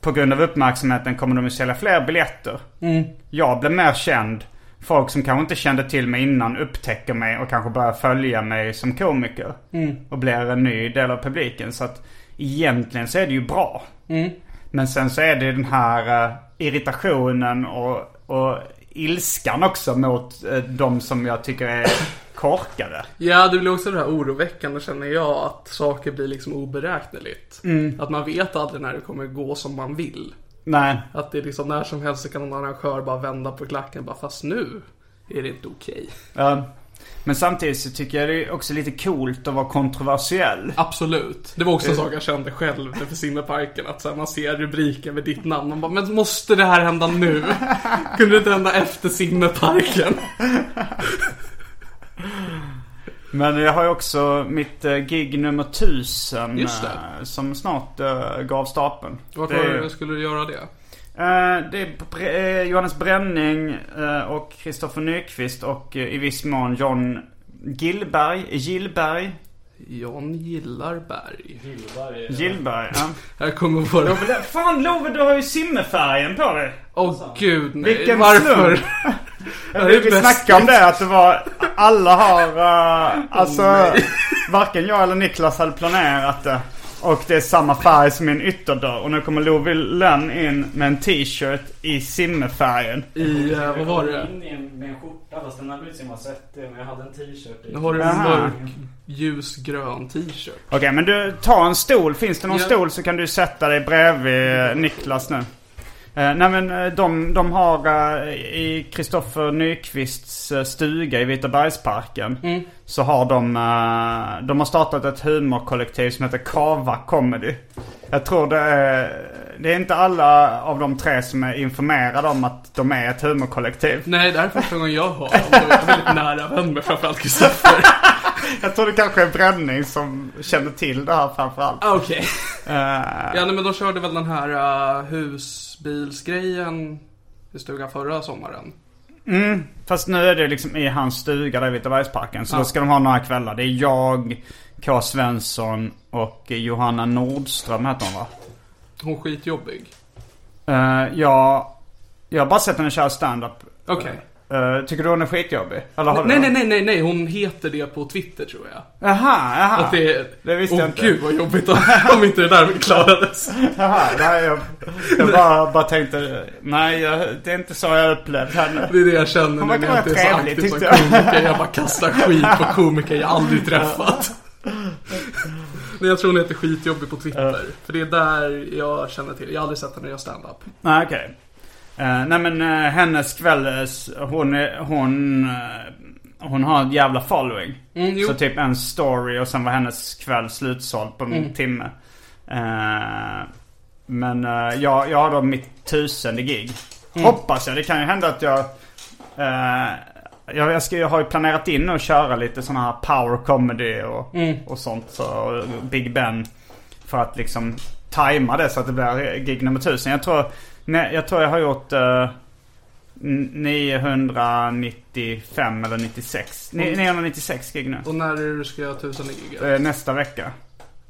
på grund av uppmärksamheten kommer de att sälja fler biljetter. Jag blir mer känd. Folk som kanske inte kände till mig innan upptäcker mig och kanske börjar följa mig som komiker. Och blir en ny del av publiken. Så att egentligen så är det ju bra. Men sen så är det den här eh, irritationen och, och ilskan också mot eh, de som jag tycker är korkade. Ja, det blir också det här oroväckande känner jag, att saker blir liksom oberäkneligt. Att man vet aldrig när det kommer gå som man vill. Nej. Att det är liksom när som helst så kan en arrangör bara vända på klacken och bara fast nu är det inte okej. Ja. Ehm, Men samtidigt så tycker jag det är också lite coolt att vara kontroversiell. Absolut. Eh. Det var också en sak jag kände själv för simmeparken. Att så här, man ser rubriken med ditt namn. Man bara, men måste det här hända nu? <laughs> Kunde det inte hända efter simmeparken? Men jag har ju också mitt eh, gig nummer 1000. Just det. eh, Som snart eh, gav stapeln. Vart Det var är- det du skulle göra det? Eh, Det är Bre- eh, Johannes Bränning eh, och Kristoffer Nyqvist och eh, i viss mån John Gillberg. Gillberg. John gillar berg. Gillberg, ja. <laughs> Här kommer våra... Men det- Fan Love, du har ju simmerfärgen på dig. Åh gud, nej. Vilken Varför? slump. <laughs> Det Vi, vi bäst. snackade om det att det var, alla har, <laughs> eh, alltså varken jag eller Niklas hade planerat det. Och det är samma färg som min ytterdörr. Och nu kommer Love Lenn in med en t-shirt i simmerfärgen. I, eh, vad var det? in i en- med en skjorta fast den hade ut som jag har sett det men jag hade en t-shirt i. Nu har du en Aha. mörk ljusgrön t-shirt. Okej, men du, ta en stol. Finns det någon Ja. stol så kan du sätta dig bredvid eh, Niklas nu. Eh, nej men eh, de, de har eh, i Kristoffer Nyqvists eh, stuga i Vitabergsparken. Så har de, eh, de har startat ett humorkollektiv som heter Kava Comedy. Jag tror det är, det är inte alla av de tre som är informerade om att de är ett humorkollektiv. Nej, det här är första gången jag hör om det. Jag är väldigt nära vän med framförallt Kristoffer. Jag tror det kanske är Bränning som känner till det här framförallt. Ah, Okej. <laughs> Eh, Ja, nej, men de körde väl den här eh, husbilsgrejen i stugan förra sommaren. Mm, fast nu är det liksom i hans stuga där i Vitabergsparken. Så Ja. då ska de ha några kvällar. Det är jag, K. Svensson och Johanna Nordström heter hon va? Hon är skitjobbig. Eh, jag, jag har bara sett henne köra stand-up. Okej. Eh, tycker du hon är skitjobbig? Eller har du Nej, det? nej, nej, nej, nej, hon heter det på Twitter tror jag. Jaha, jaha. Att det är... Ah, det visste jag Åh, inte. gud vad jobbigt om, om inte <laughs> det där klarades. jaha nej, jag, jag bara, bara tänkte, nej jag, det är inte så jag upplevde henne. Det är det jag Hon känner nu verkar när jag vara inte är så trevlig, aktiv som tyckte jag. komiker. Jag bara kastar skit på komiker jag <laughs> aldrig träffat. Nej, jag tror hon heter skitjobbig på Twitter. För det är där jag känner till. Jag har aldrig sett henne göra standup. Nej, okej. Eh, nej men eh, hennes kväll, eh, s- hon, är- hon, eh, hon har ett jävla following. Mm, jo. Så typ en story och sen var hennes kväll slutsåld på en Mm. timme. Eh, men eh, jag, jag har då mitt tusende gig. Mm. Hoppas jag. Det kan ju hända att jag... eh, jag, jag, ska, jag har ju planerat in att köra lite sådana här power comedy och, Mm. och sånt. Så, och Big Ben. För att liksom tajma det så att det blir gig nummer tusen. Jag tror, nej, jag, tror jag har gjort... eh, n- 995 eller 96. Ni- 996 gig nu. Och när är det du ska göra tusen i giget? Eh, Nästa vecka.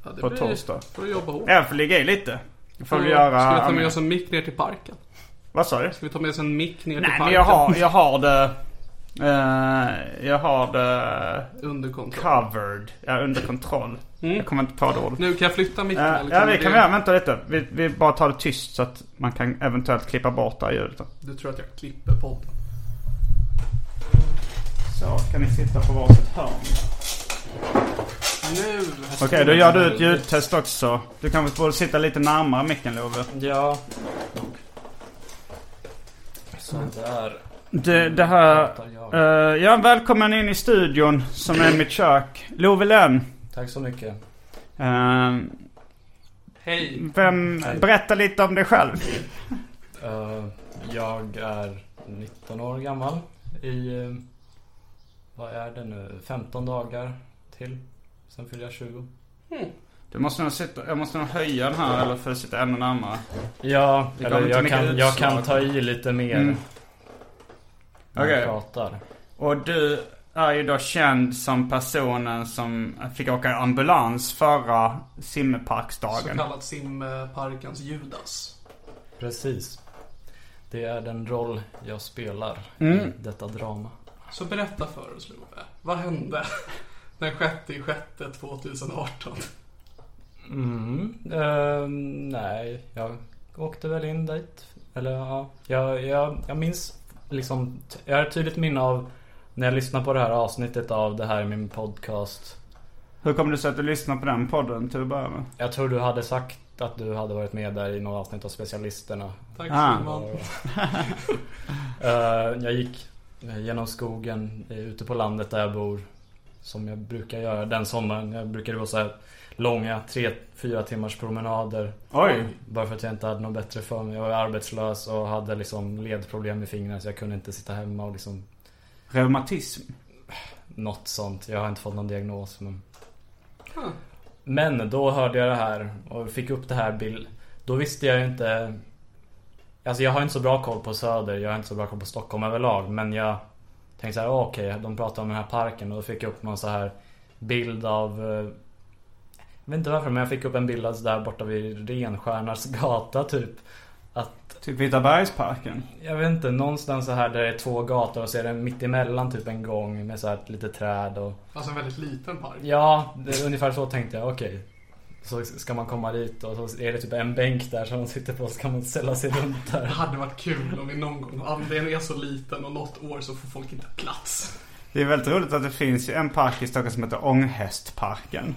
Ja, det på blir- torsdag. får du jobba hårt. Jag får ligga i lite. Jag får Ska väl vi göra... ta med oss en mick ner till parken? Vad sa du? Ska vi ta med oss en mick ner Nej till men parken? jag har, jag har det... eh, jag har det Under kontroll. covered. Jag är under kontroll. Mm. Jag kommer inte på det ordet. Nu, kan jag flytta micken? Eh, eller ja kommer det kan vi göra. Vänta lite. Vi, vi bara tar det tyst så att man kan eventuellt klippa bort det här ljudet. då. Du tror att jag klipper podden? Så kan ni sitta på varsitt hörn. Nu! Okej då gör du ett ljudtest också. Du kanske borde sitta lite närmare micken Love. Ja. Sådär. Det, det här... Jag. Uh, ja välkommen in i studion som är mitt kök. Love Lenn. Tack så mycket. Ehm, Hej! eh, Vem, berätta lite om dig själv. Eh, jag är 19 år gammal i, eh, vad är det nu, 15 dagar till. Sen fyller jag 20. Du måste nog sitta, jag måste nog höja den här eller för att sitta ännu närmare. Ja, Det kommer eller jag inte mycket kan, jag kan utslag. ta i lite mer Mm. när Okej. jag pratar. Och du är ju då känd som personen som fick åka ambulans förra Så simmerparksdagen. kallat simparkens Judas. Precis. Det är den roll jag spelar i detta drama. Så berätta för oss Love, vad hände <laughs> den 6 sjätte 2018? Mm, ehm, nej, jag åkte väl in dit. Eller ja, jag, jag, jag minns liksom, t- jag har ett tydligt minne av när jag lyssnar på det här avsnittet av det här i min podcast. Hur kom det sig att du lyssnade på den podden till att börja med? Jag tror du hade sagt att du hade varit med där i några avsnitt av specialisterna. Tack Ah. Simon. <laughs> Eh, jag gick genom skogen eh, ute på landet där jag bor. Som jag brukar göra den sommaren. Jag brukade gå så här långa 3-4 timmars promenader. Oj! Bara för att jag inte hade något bättre för mig. Jag var arbetslös och hade liksom ledproblem i fingrarna så jag kunde inte sitta hemma och liksom Reumatism. Något sånt. Jag har inte fått någon diagnos. Men, men då hörde jag det här och fick upp det här bild. Då visste jag ju inte. Alltså jag har inte så bra koll på Söder. Jag har inte så bra koll på Stockholm överlag. Men jag tänkte så här, "Ah, okej, de pratar om den här parken. Och då fick jag upp någon så här bild av eh, jag vet inte varför men jag fick upp en bild alltså där borta vid Renstjärnars <laughs> gata typ. Att, Typ Vita bergsparken. jag vet inte, någonstans så här där det är två gator och så är det mittemellan typ en gång med så här ett litet träd och... Alltså en väldigt liten park. Ja, det, är ungefär så tänkte jag. Okej. Så ska man komma dit och så är det typ en bänk där som de sitter på så kan man ställa sig runt Det där. hade varit kul om vi någon gång, andelen är så liten och något år så får folk inte plats. Det är väldigt roligt att det finns ju en park i Stockholm som heter Ånghästparken.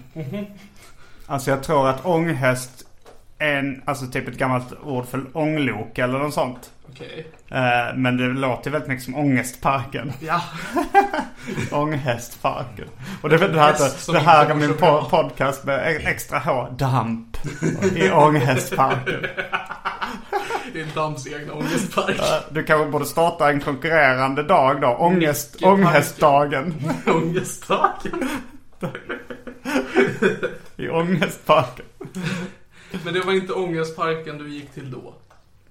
Alltså jag tror att ånghäst är en, alltså typ ett gammalt ord för ånglok eller något sånt. Okej. Eh, Men det låter väldigt mycket som Ångestparken. Ja. <laughs> Ånghästparken. Och det, det, här, Häst det som här inte är min går så bra. po- podcast med e- extra H. Damp. I <laughs> Ånghästparken. Det är Dams egna ångestpark. Du kanske borde starta en konkurrerande dag då. Ångest, Mycket ånghästdagen. <laughs> Ångestpark. I Ånghästparken. Men det var inte ångestparken du gick till då?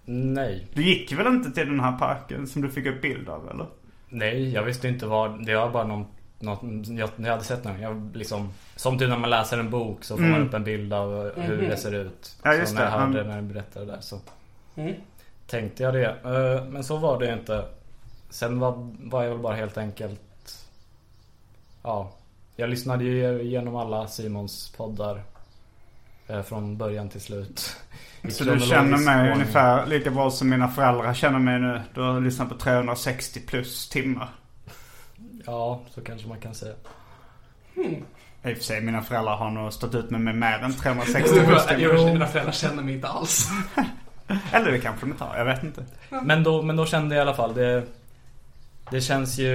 Nej. Du gick väl inte till den här parken som du fick upp bild av eller? Nej, jag visste inte vad. Det var bara någon, något jag, jag hade sett någon. Jag liksom, som typ när man läser en bok så får man upp en bild av hur det ser ut. Mm. Mhm. Ja, just så när jag det. hörde Mm. när du berättade det där så tänkte jag det. Eh, Men så var det ju inte. Sen var, var jag väl bara helt enkelt Ja, jag lyssnade ju igenom alla Simons poddar. eh, Från början till slut. I Så du kronologisk känner mig ordning. ungefär lika bra som mina föräldrar känner mig nu. Du har lyssnat på 360 plus timmar. Ja, så kanske man kan säga. I och för sig, mina föräldrar har nog stått ut med mig mer än <laughs> 360 Jag plus bara, i och för sig, timmar. mina föräldrar känner mig inte alls. Eller det kanske de inte har, jag vet inte. Men då, men då kände jag i alla fall det Det känns ju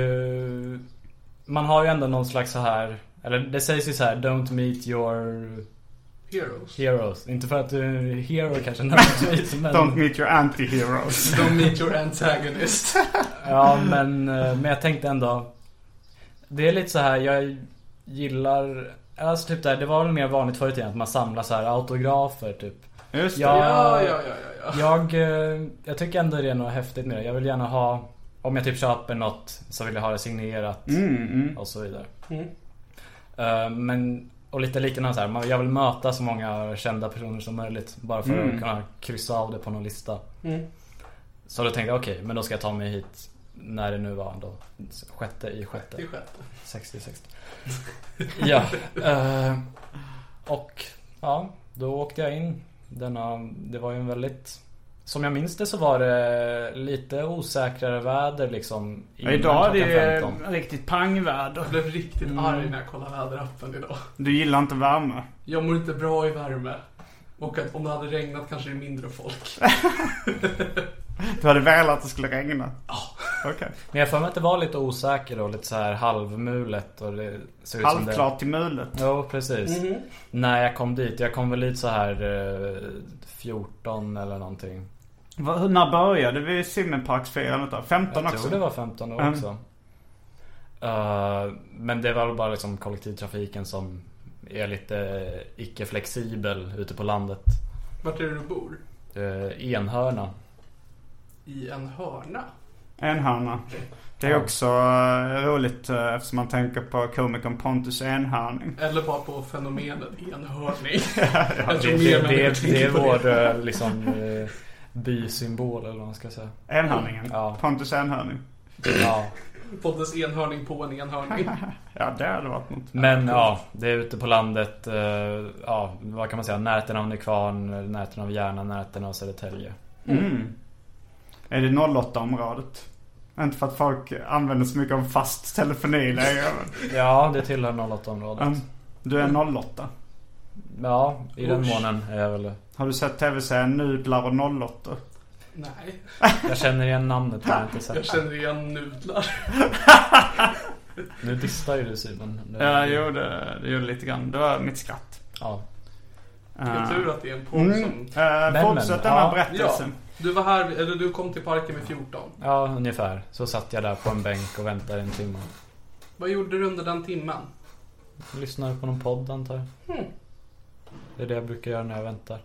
Man har ju ändå någon slags så här Eller det sägs ju så här Don't meet your Heroes. heroes Inte för att du är hero kanske <laughs> nödvändigtvis men, Don't meet your anti-heroes. Don't meet your antagonist. ja, men, eh, men jag tänkte ändå Det är lite så här jag gillar Alltså typ där, det var väl mer vanligt förut igen att man samlar så här autografer typ Just det. Ja. Ja, ja, ja, ja. ja. Jag, eh, jag tycker ändå det är något häftigt med det. Jag vill gärna ha Om jag typ köper något så vill jag ha det signerat Mm. och så vidare. Eh, Men och lite liknande så här. man- Jag vill möta så många kända personer som möjligt. Bara för att kunna kryssa av det på någon lista. Mm. Så då tänkte jag okej, men då ska jag ta mig hit. När det nu var då. Sjätte i sjätte. Det är sjätte. 60-60. <laughs> ja. eh, och ja, då åkte jag in. Denna, det var ju en väldigt... Som jag minns det så var det lite osäkrare väder liksom. Ja, innan idag är det klockan 15. ju riktigt pangväder. Jag blev riktigt arg när jag kollade väderappen idag. Du gillar inte värme. Jag mår inte bra i värme. Och att om det hade regnat kanske det är mindre folk. Du hade velat att det skulle regna. Okej. Men jag har för mig att det var lite osäker och lite så här halvmulet. Och det ser ut som det... Halvklart till mulet. Jo, precis. Mm. När jag kom dit. Jag kom väl dit så här eh, 14 eller någonting. Va- hur- När började vi simmerparksfirandet då? 15 Jag också? tror det var 15 år Mm. också. Eh, men det var väl bara liksom kollektivtrafiken som är lite icke-flexibel ute på landet. Vart är det du bor? Uh, enhörna. I en hörna? Enhörna. Det är Ja. också eh, roligt eh, eftersom man tänker på komikern Pontus <laughs> Enhörning. Eller bara på fenomenet enhörning. jag Det, tror det, mer det, människor det är tänker på vår det. eh, liksom, eh, bysymbol eller vad man ska säga. Enhörningen. Ja. Pontus Enhörning. Ja. Pontus enhörning på en enhörning. Ja, det hade varit något. Men ja, det är ute på landet. eh, ja, vad kan man säga? Närheten av Nykvarn, närheten av Järna, närheten av Södertälje. Mm. Är det 08-området? Inte för att folk använder så mycket om fast telefoni längre. <laughs> men, Ja, det tillhör 08-området. um, Du är 08. Ja, i den Usch. månen är jag väl Har du sett tv-serien Nudlar och 08? Nej, Jag känner igen namnet men jag har inte sett jag känner igen nudlar. Nu distar ju du Simon. Nu- det, det gjorde lite grann. Det var mitt skratt. ja. Vilken tur att det är en podd Ah. Mm. som... Eh, men, fortsätt den här ja. Ja, berättelsen. du var här, eller du kom till parken vid 14. ja, ungefär. Så satt jag där på en bänk och väntade en timme. Vad gjorde du under den timmen? Lyssnar på någon podd antar jag. Hmm. Det är det jag brukar göra när jag väntar.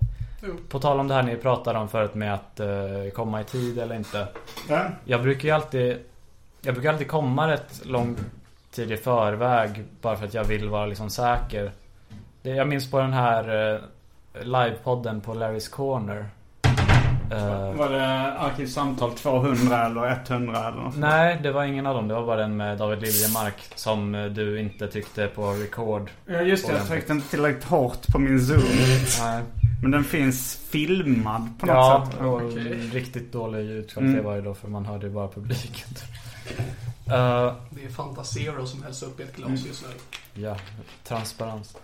Jo. På tal om det här ni pratade om förut med att eh, komma i tid eller inte. Ja. Jag brukar ju alltid Jag brukar alltid komma rätt lång tid i förväg Bara för att jag vill vara liksom säker det, Jag minns på den här eh, Livepodden på Larry's Corner Eh, Var det Arkivsamtal 200 eller 100 eller något? Nej, det var ingen av dem. Det var bara den med David Liljemark som eh, du inte tryckte på record. Ja, just det. Jag tryckte inte tillräckligt hårt på min zoom. Nej. Men den finns filmad på något Ja, sätt. och Okej. riktigt dålig ljudkvalitet Mm. var det då för man hörde ju bara publiken. <laughs> Eh, Det är Fanta Zero som hälls upp i ett glas Mm. just nu. Ja, transparens.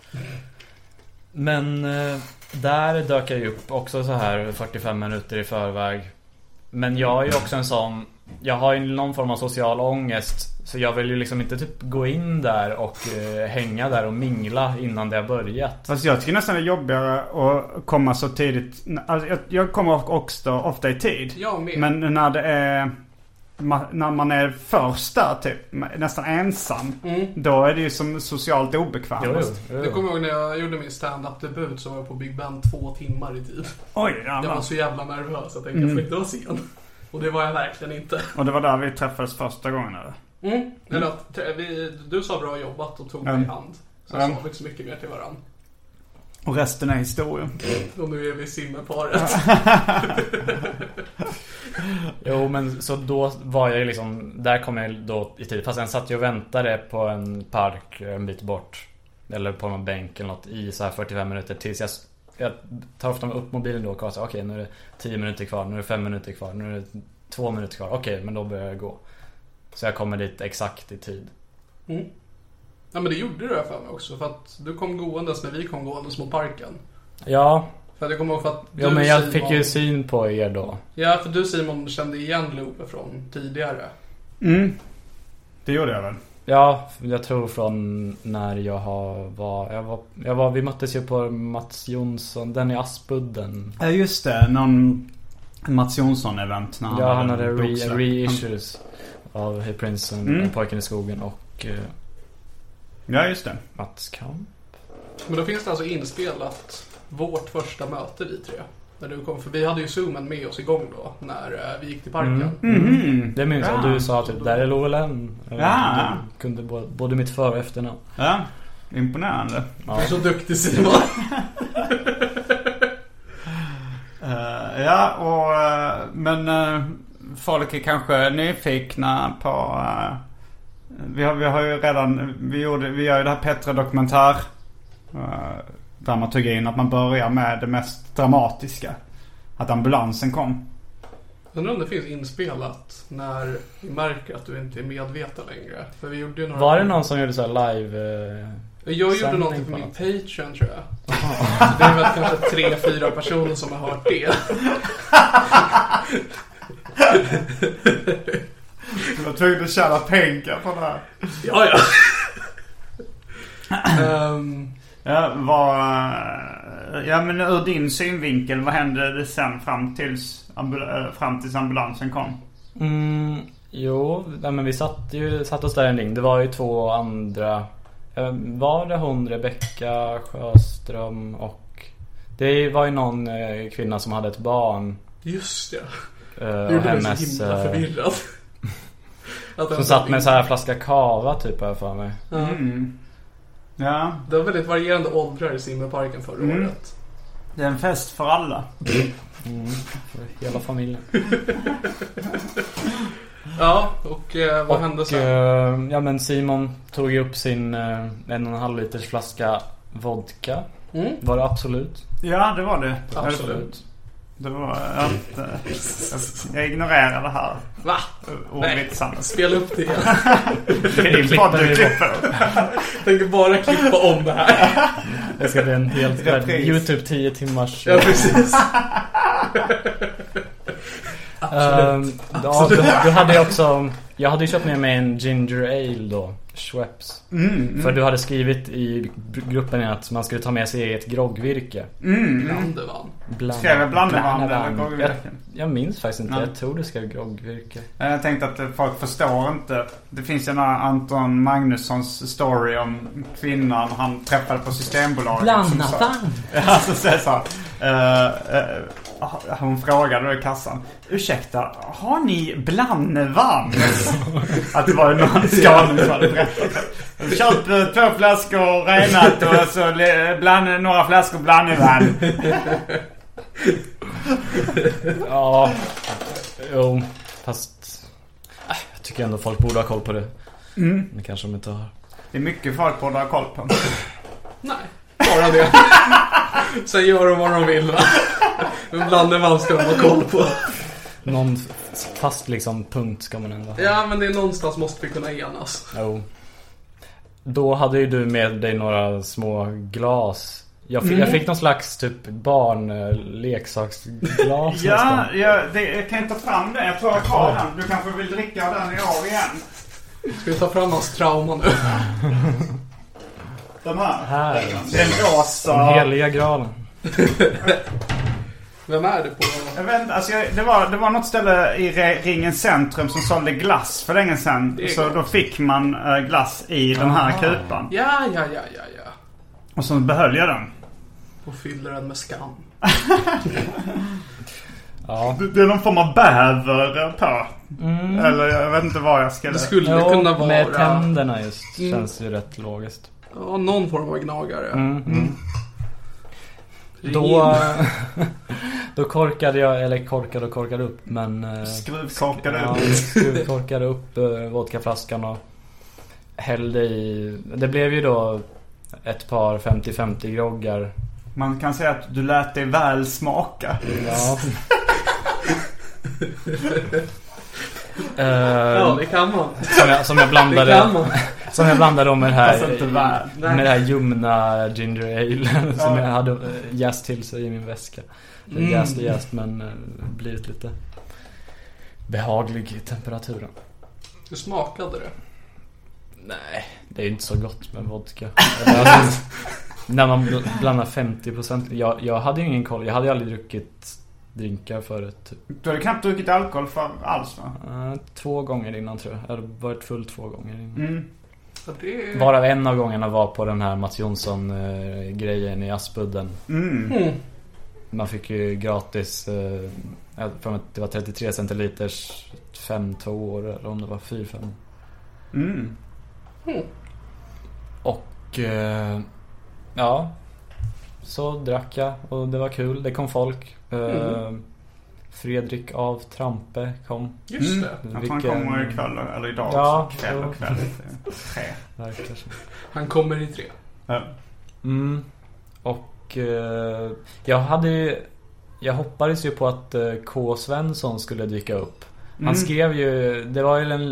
Men eh, där dök jag ju upp också så här 45 minuter i förväg. Men jag är ju också en sån Jag har ju någon form av social ångest Så jag vill ju liksom inte typ gå in där och eh, hänga där och mingla innan det har börjat Fast jag tycker nästan det är jobbigare att komma så tidigt. Alltså, jag, jag kommer också ofta i tid. Jag med. Men när det är... ma- När man är först där typ, nästan ensam. Mm. Då är det ju som socialt obekvämt. Jo, jo, Jag jo. kommer ihåg när jag gjorde min stand-up-debut så var jag på Big Ben två timmar i tid. Oj, ja, Jag var så jävla nervös. Jag tänkte Mm. jag får inte vara sen. Och det var jag verkligen inte. Och det var där vi träffades första gången eller? Mm. Eller att te- vi, du sa bra jobbat och tog mig i Mm. hand. Sen Mm. sa vi inte så mycket mer till varandra. Och resten är historia. Och nu är vi simmeparet. Jo men så då var jag ju liksom Där kom jag då i tid Fast sen satt jag och väntade på en park en bit bort Eller på någon bänk eller något i så här 45 minuter tills jag Jag tar ofta upp mobilen då och kollar så här, okej nu är det 10 minuter kvar Nu är det 5 minuter kvar Nu är det 2 minuter kvar Okej men då börjar jag gå Så jag kommer dit exakt i tid Ja men det gjorde du för mig också. För att du kom gåendes när vi kom gåendes mot parken. Ja, För att jag kommer ihåg för att ja men jag Simon- fick ju syn på er då Ja för du Simon kände igen Love från tidigare. Mm. Det gjorde jag väl. Ja, jag tror från när jag har- var, jag var, jag var Vi möttes ju på Mats Jonsson, den i Aspudden Ja just det, någon Mats Jonsson-event när han Ja, han hade en re- boksläpp. reissues av Hey Prince, Mm. Pojken i skogen och eh, Ja just det. Mats Kamp. Men då finns det alltså inspelat vårt första möte vi tre. När du kom, för vi hade ju zoomen med oss igång då när eh, vi gick till parken. Mm. Mhm. Det minns jag. Ja. Du sa typ där är Lovelen. Eller, Ja. Eh, Du kunde både, både mitt för och efternamn. Ja. Imponerande. Du är så duktig Simon. Eh, ja, och eh, men eh, folk är kanske nyfikna på... eh, vi, har, vi har ju redan, vi, gjorde, vi gör ju det här Petra Dokumentär eh, dramaturgin. Att man börjar med det mest dramatiska. Att ambulansen kom. Undrar om det finns inspelat när vi märker att du inte är medveten längre. För vi gjorde ju några... Var det någon som gjorde så här live? Eh, Jag gjorde sändning någonting på på min något? Patreon tror jag. Så <laughs> det är väl kanske tre, fyra personer som har hört det. Jag var tvungen att tjäna pengar på det här. Ja, <clears throat> ja. Ehm, Ja, vad, eh, ja men ur din synvinkel, vad hände det sen fram tills, ambul- eh, fram tills ambulansen kom? Mm, jo, nej, men vi satt, ju, satt oss där en ring. Det var ju två andra. eh, Var det hon Rebecka Sjöström och det var ju någon eh, kvinna som hade ett barn. just det. eh, Det och gjorde mig hennes, så himla eh, <laughs> förvirrad. Att den Som satt med en sån här flaska kava typ har jag för mig. Ja. Mm. Ja, Det var väldigt varierande åldrar i simmerparken förra Mm. året. det är en fest för alla. För Mm. Hela familjen. Ja, och eh, vad hände Och, sen? eh, ja men Simon tog ju upp sin eh, en och en halv liters flaska vodka. Mm. Var det absolut? Ja, det var det. Absolut. Det var att, eh, jag- jag ignorerar det här Va? Nej. ordet <laughs> tillsammans. Spela upp det igen. Det är din klipper podd du vi klipper. Jag tänker bara klippa om det här. Det ska bli en helt Repris. Youtube 10 timmars... eh, Ja, <laughs> precis. Ehm, ja, då, då hade jag också... Jag hade ju köpt med mig en ginger ale då. Schweppes. Mm, mm. För du hade skrivit i gruppen att man skulle ta med sig eget groggvirke. Mm. Blandevan. Bland, Skrev jag blandevan eller blandevan. groggvirke? jag, jag minns faktiskt inte. Nej. Jag tror det skrev groggvirke. Eh, Jag tänkte att eh, folk förstår inte. Det finns den här Anton Magnussons story om kvinnan han träffade på Systembolaget. som sa- <laughs> Ja, Alltså, så säger så här, eh, eh, Hon frågade då i kassan. Ursäkta, har ni blandvann? att det var någon skåning som hade berättat. Köp eh, två flaskor renat och så le- bland, några flaskor blandevann. Ja, jo, fast... Äh, Jag tycker ändå folk borde ha koll på det. Mm. Men kanske de inte har. Det är mycket folk borde ha koll på. Nej. Bara <laughs> det. Sen gör de vad de vill va. Men blandevan ska de ha koll på. Någon f- fast liksom punkt ska man ändå ha. Ja, men det är någonstans måste vi kunna enas. Jo. Då hade ju du med dig några små glas. Jag Mm. fick, jag fick någon slags <laughs> typ barnleksaksglas Ja, nästan. jag, det, jag kan inte ta fram den. Jag tror jag har den. Du kanske vill dricka den i år igen? Ska vi ta fram hans trauma nu? Den här. Här. Den rosa. Den heliga graalen. Vem är det på? Jag vet inte, alltså jag, det, var, det var något ställe i Re- Ringens Centrum som sålde glass för länge sedan. Det är Så gott. då fick man eh, glass i den här kupan. Ja, ja, ja, ja, ja. Och så behöll jag den. Och fyller den med skam. Ja. Det- Det är någon form av bäver eh, på. Mm. Eller jag vet inte vad jag skulle... Det skulle Jo, kunna vara... Mm. med tänderna just. Känns ju rätt logiskt. Ja, någon form av gnagare. Mm. Ring Mm. Då, in. <laughs> då korkade jag, eller korkade och korkade upp men... eh, Skruvkorkade Ja, ut. skruv- korkade upp eh, vodkaflaskan och hällde i. Det blev ju då ett par 50-50 groggar. Man kan säga att du lät dig väl smaka. Ja. <laughs> Eh, Ja, det kan man. som, jag, som jag Det blandade kan man. Som jag blandade om med det Fast här inte väl. Med det här ljumna ginger ale <laughs> Som Ja. jag hade eh, jäst till sig i min väska Så Mm. Jäst och jäst men eh, blivit lite Behaglig i temperaturen Hur smakade det? Nej, det är ju inte så gott med vodka. Eller, alltså, när man bl- blandar 50%. Jag, jag hade ju ingen koll. Jag hade ju aldrig druckit drinkar förut. Typ. Du hade knappt druckit alkohol för alls va? Eh, två gånger innan tror jag. Jag hade varit full två gånger innan. Mm. Ja, det... Varav en av gångerna var på den här Mats Jonsson eh, grejen i Aspudden. Mm. Mm. Man fick ju gratis, eh, jag för mig att det var 33 centiliters fem tvåor eller om det var 4-5. Mm. Och eh, ja, så drack jag och det var kul. Det kom folk. Eh, Mm-hmm. Fredrik av Trampe kom. Just Mm. det. Jag tror han Vilken- kommer ikväll, eller idag också. Ja, kväll jo. och kväll. Tre. Verkar som. Han kommer i tre. Ja. Mm. Och eh, jag hade ju, jag hoppades ju på att eh, K. Svensson skulle dyka upp. Han Mm. skrev ju, det var ju en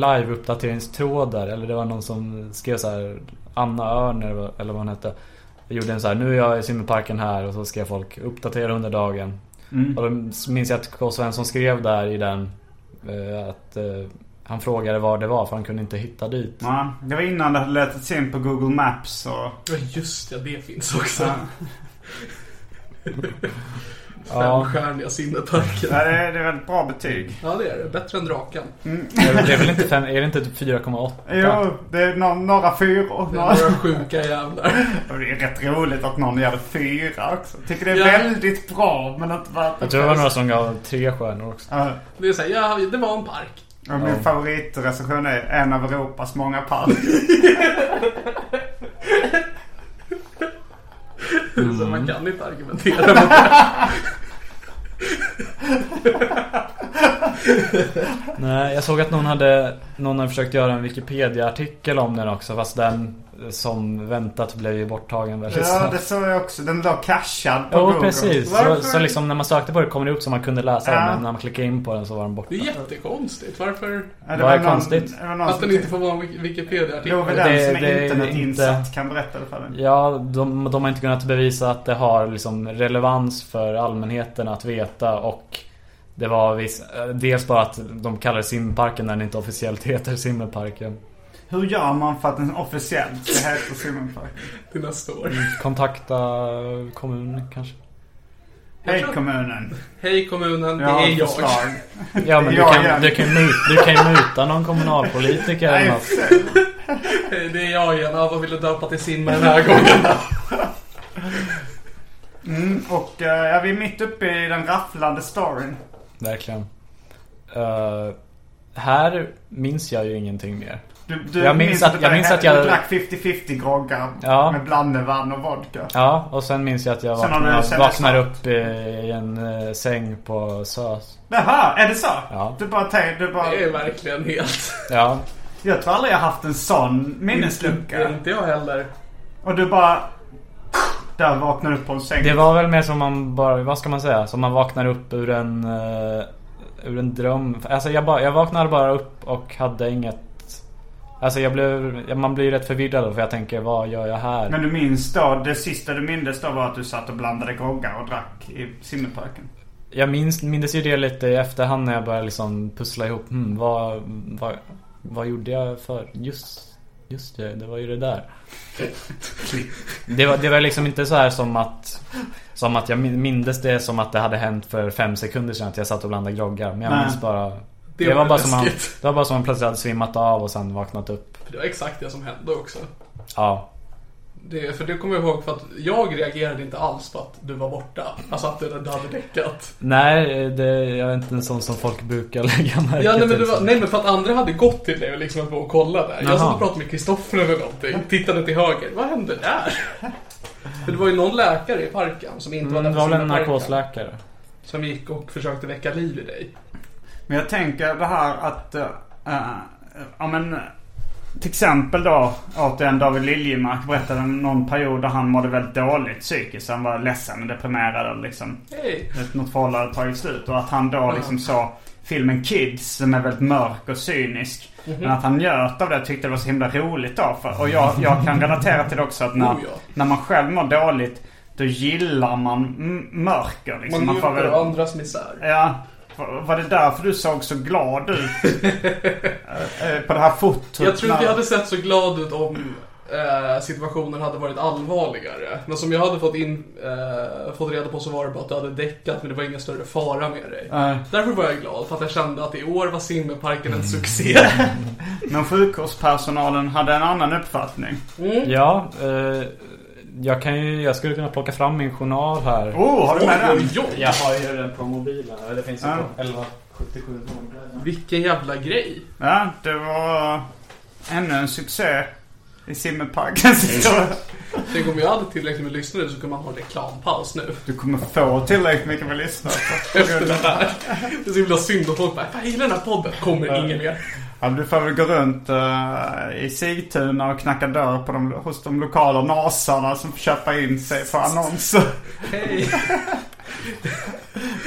live-uppdateringstråd där, eller det var någon som skrev så här Anna Örner eller vad- eller vad hon hette. Gjorde en så här, nu är jag i simmerparken här och så skrev folk uppdatera under dagen. Mm. Och då minns jag att K. Svensson skrev där i den eh, att eh, han frågade var det var för han kunde inte hitta dit. Ja, det var innan det hade letats in på Google Maps och... Ja, just ja, det finns också. Ja. Ja, <laughs> Femstjärniga sinneparken. Ja, det, är, det är väldigt bra betyg. Ja, det är det. Bättre än draken. det är väl inte, fem, är det inte typ 4,8? Jo, det är no några fyror. Det Några... är några sjuka jävlar. Och det är rätt roligt att någon gör det fyra också. Tycker det är Ja. väldigt bra men att vara... Jag tror det var några som gav tre stjärnor också. Ja, Det är såhär, ja, det var en park. och min favoritrecension är en av Europas många <laughs> parker. Mm. Så man kan inte argumentera mot det. Nej, jag såg att någon hade, någon hade försökt göra en Wikipedia-artikel om den också fast den eh, som väntat blev ju borttagen väldigt Ja, det snabbt. såg jag också. Den låg cashad på Jo Google. precis. Så, Varför? så liksom när man sökte på det kom det upp så man kunde läsa Ja. den men när man klickade in på den så var den borta. Det är jättekonstigt. Varför? Ja, Vad är någon- konstigt? Det var någon Att som den inte tyckte... får vara en Wik- Wikipedia-artikel. Jo, men Det- den som det är är internetinsatt inte- kan berätta det för dig. Ja, de, de har inte kunnat bevisa att det har liksom relevans för allmänheten att veta och det var viss, eh, dels bara att de kallar det simparken när den inte officiellt heter simmerparken. Hur gör man för att den officiellt ska heta simimpark? till nästa år. Kontakta kommun kanske. Hej kommunen. Hej kommunen, Jag har det är ett jag. förslag. Ja men du Ja, ja. kan, du kan, mut, du kan ju muta någon kommunalpolitiker eller något. Hej, det är jag igen. Ja, vad vill du döpa till Simma den här gången? Mm, och eh, ja, vi är mitt uppe i den rafflande storyn. Verkligen. Eh, här minns jag ju ingenting mer. Du, du Jag minns att- jag där minns he- att jag- du drack 50-50 groggar Ja. med blandevann och vodka. Ja, och sen minns jag att jag Sen har du vaknar, sett vaknar det upp i i en eh, säng på SÖS. Jaha, är det så? Ja. Du bara tänk, du bara... <laughs> Det är verkligen helt... Ja, Jag tror aldrig jag haft en sån minneslucka. Inte jag heller. Och du bara... Där vaknar du upp på en säng. det var väl mer som man bara, vad ska man säga? Som man vaknar upp ur en, eh, ur en dröm. Alltså jag, bara, jag vaknade bara upp och hade inget Alltså jag blev, man blir ju rätt förvirrad då för jag tänker vad gör jag här? Men du minns då, det sista du minns då var att du satt och blandade groggar och drack i simmerparken. Jag minns, minns ju det lite i efterhand när jag började liksom pussla ihop. Hmm, vad, vad, vad gjorde jag för? Just, just det, det var ju det där. Det var, det var liksom inte så här som att Som att jag min- mindes det som att det hade hänt för fem sekunder sedan att jag satt och blandade groggar. Men jag Nej. minns bara det, var var bara som man, läskigt. det var bara som man plötsligt hade svimmat av och sen vaknat upp. För det var exakt det som hände också. Ja. Det, för det kommer jag ihåg för att jag reagerade inte alls på att du var borta. Alltså att du, du hade däckat. Nej, det, jag är inte en sån som folk brukar <laughs> lägga märke Ja, nej, men till. det var, nej men för att andra hade gått till dig och liksom var och kollade. Jag satt Jaha. och pratade med Kristoffer eller någonting. Tittade till höger. Vad hände <laughs> där? För det var ju någon läkare i parken som inte var Mm, där det på var väl en simmarparken. narkosläkare. Som gick och försökte väcka liv i dig. Men jag tänker det här att... eh, eh, ja men... eh, Till exempel då återigen David Liljemark berättade om någon period där han mådde väldigt dåligt psykiskt. Han var ledsen och deprimerad och liksom... Hej! ett- Något förhållande hade tagit slut. Och att han då liksom såg filmen Kids som är väldigt mörk och cynisk. Mhm. Men att han njöt av det och tyckte det var så himla roligt då. För, och jag, jag kan relatera till det också att när, Oh, ja. när man själv mår dåligt då gillar man m- mörker. Liksom. Man får njuter väl- av andras misär. Ja. Var det därför du såg så glad ut? Eh, På det här fotot? Jag tror när- inte jag hade sett så glad ut om eh, situationen hade varit allvarligare. Men som jag hade fått, in, eh, fått reda på så var det bara att du hade däckat men det var ingen större fara med dig. Nej. Därför var jag glad, för att jag kände att i år var simmeparken en succé. Men sjukvårdspersonalen hade en annan uppfattning. Ja, eh, jag kan ju, jag skulle kunna plocka fram min journal här. Oh, har du med den? Jag har ju den på mobilen. Det finns ju Ja. 1177 Vilken jävla grej. Ja, det var ännu en succé i simmerparkens historia. Tänk om jag hade tillräckligt med lyssnare så kan man ha en reklampaus nu. Du kommer få tillräckligt mycket med lyssnare. Efter det här. Det är så himla synd att folk bara, jag gillar den här podden. Kommer ingen mer. Ja, du får väl gå runt eh, i Sigtuna och knacka dörr på de, hos de lokala nasarna som får köpa in sig för annonser. Hej,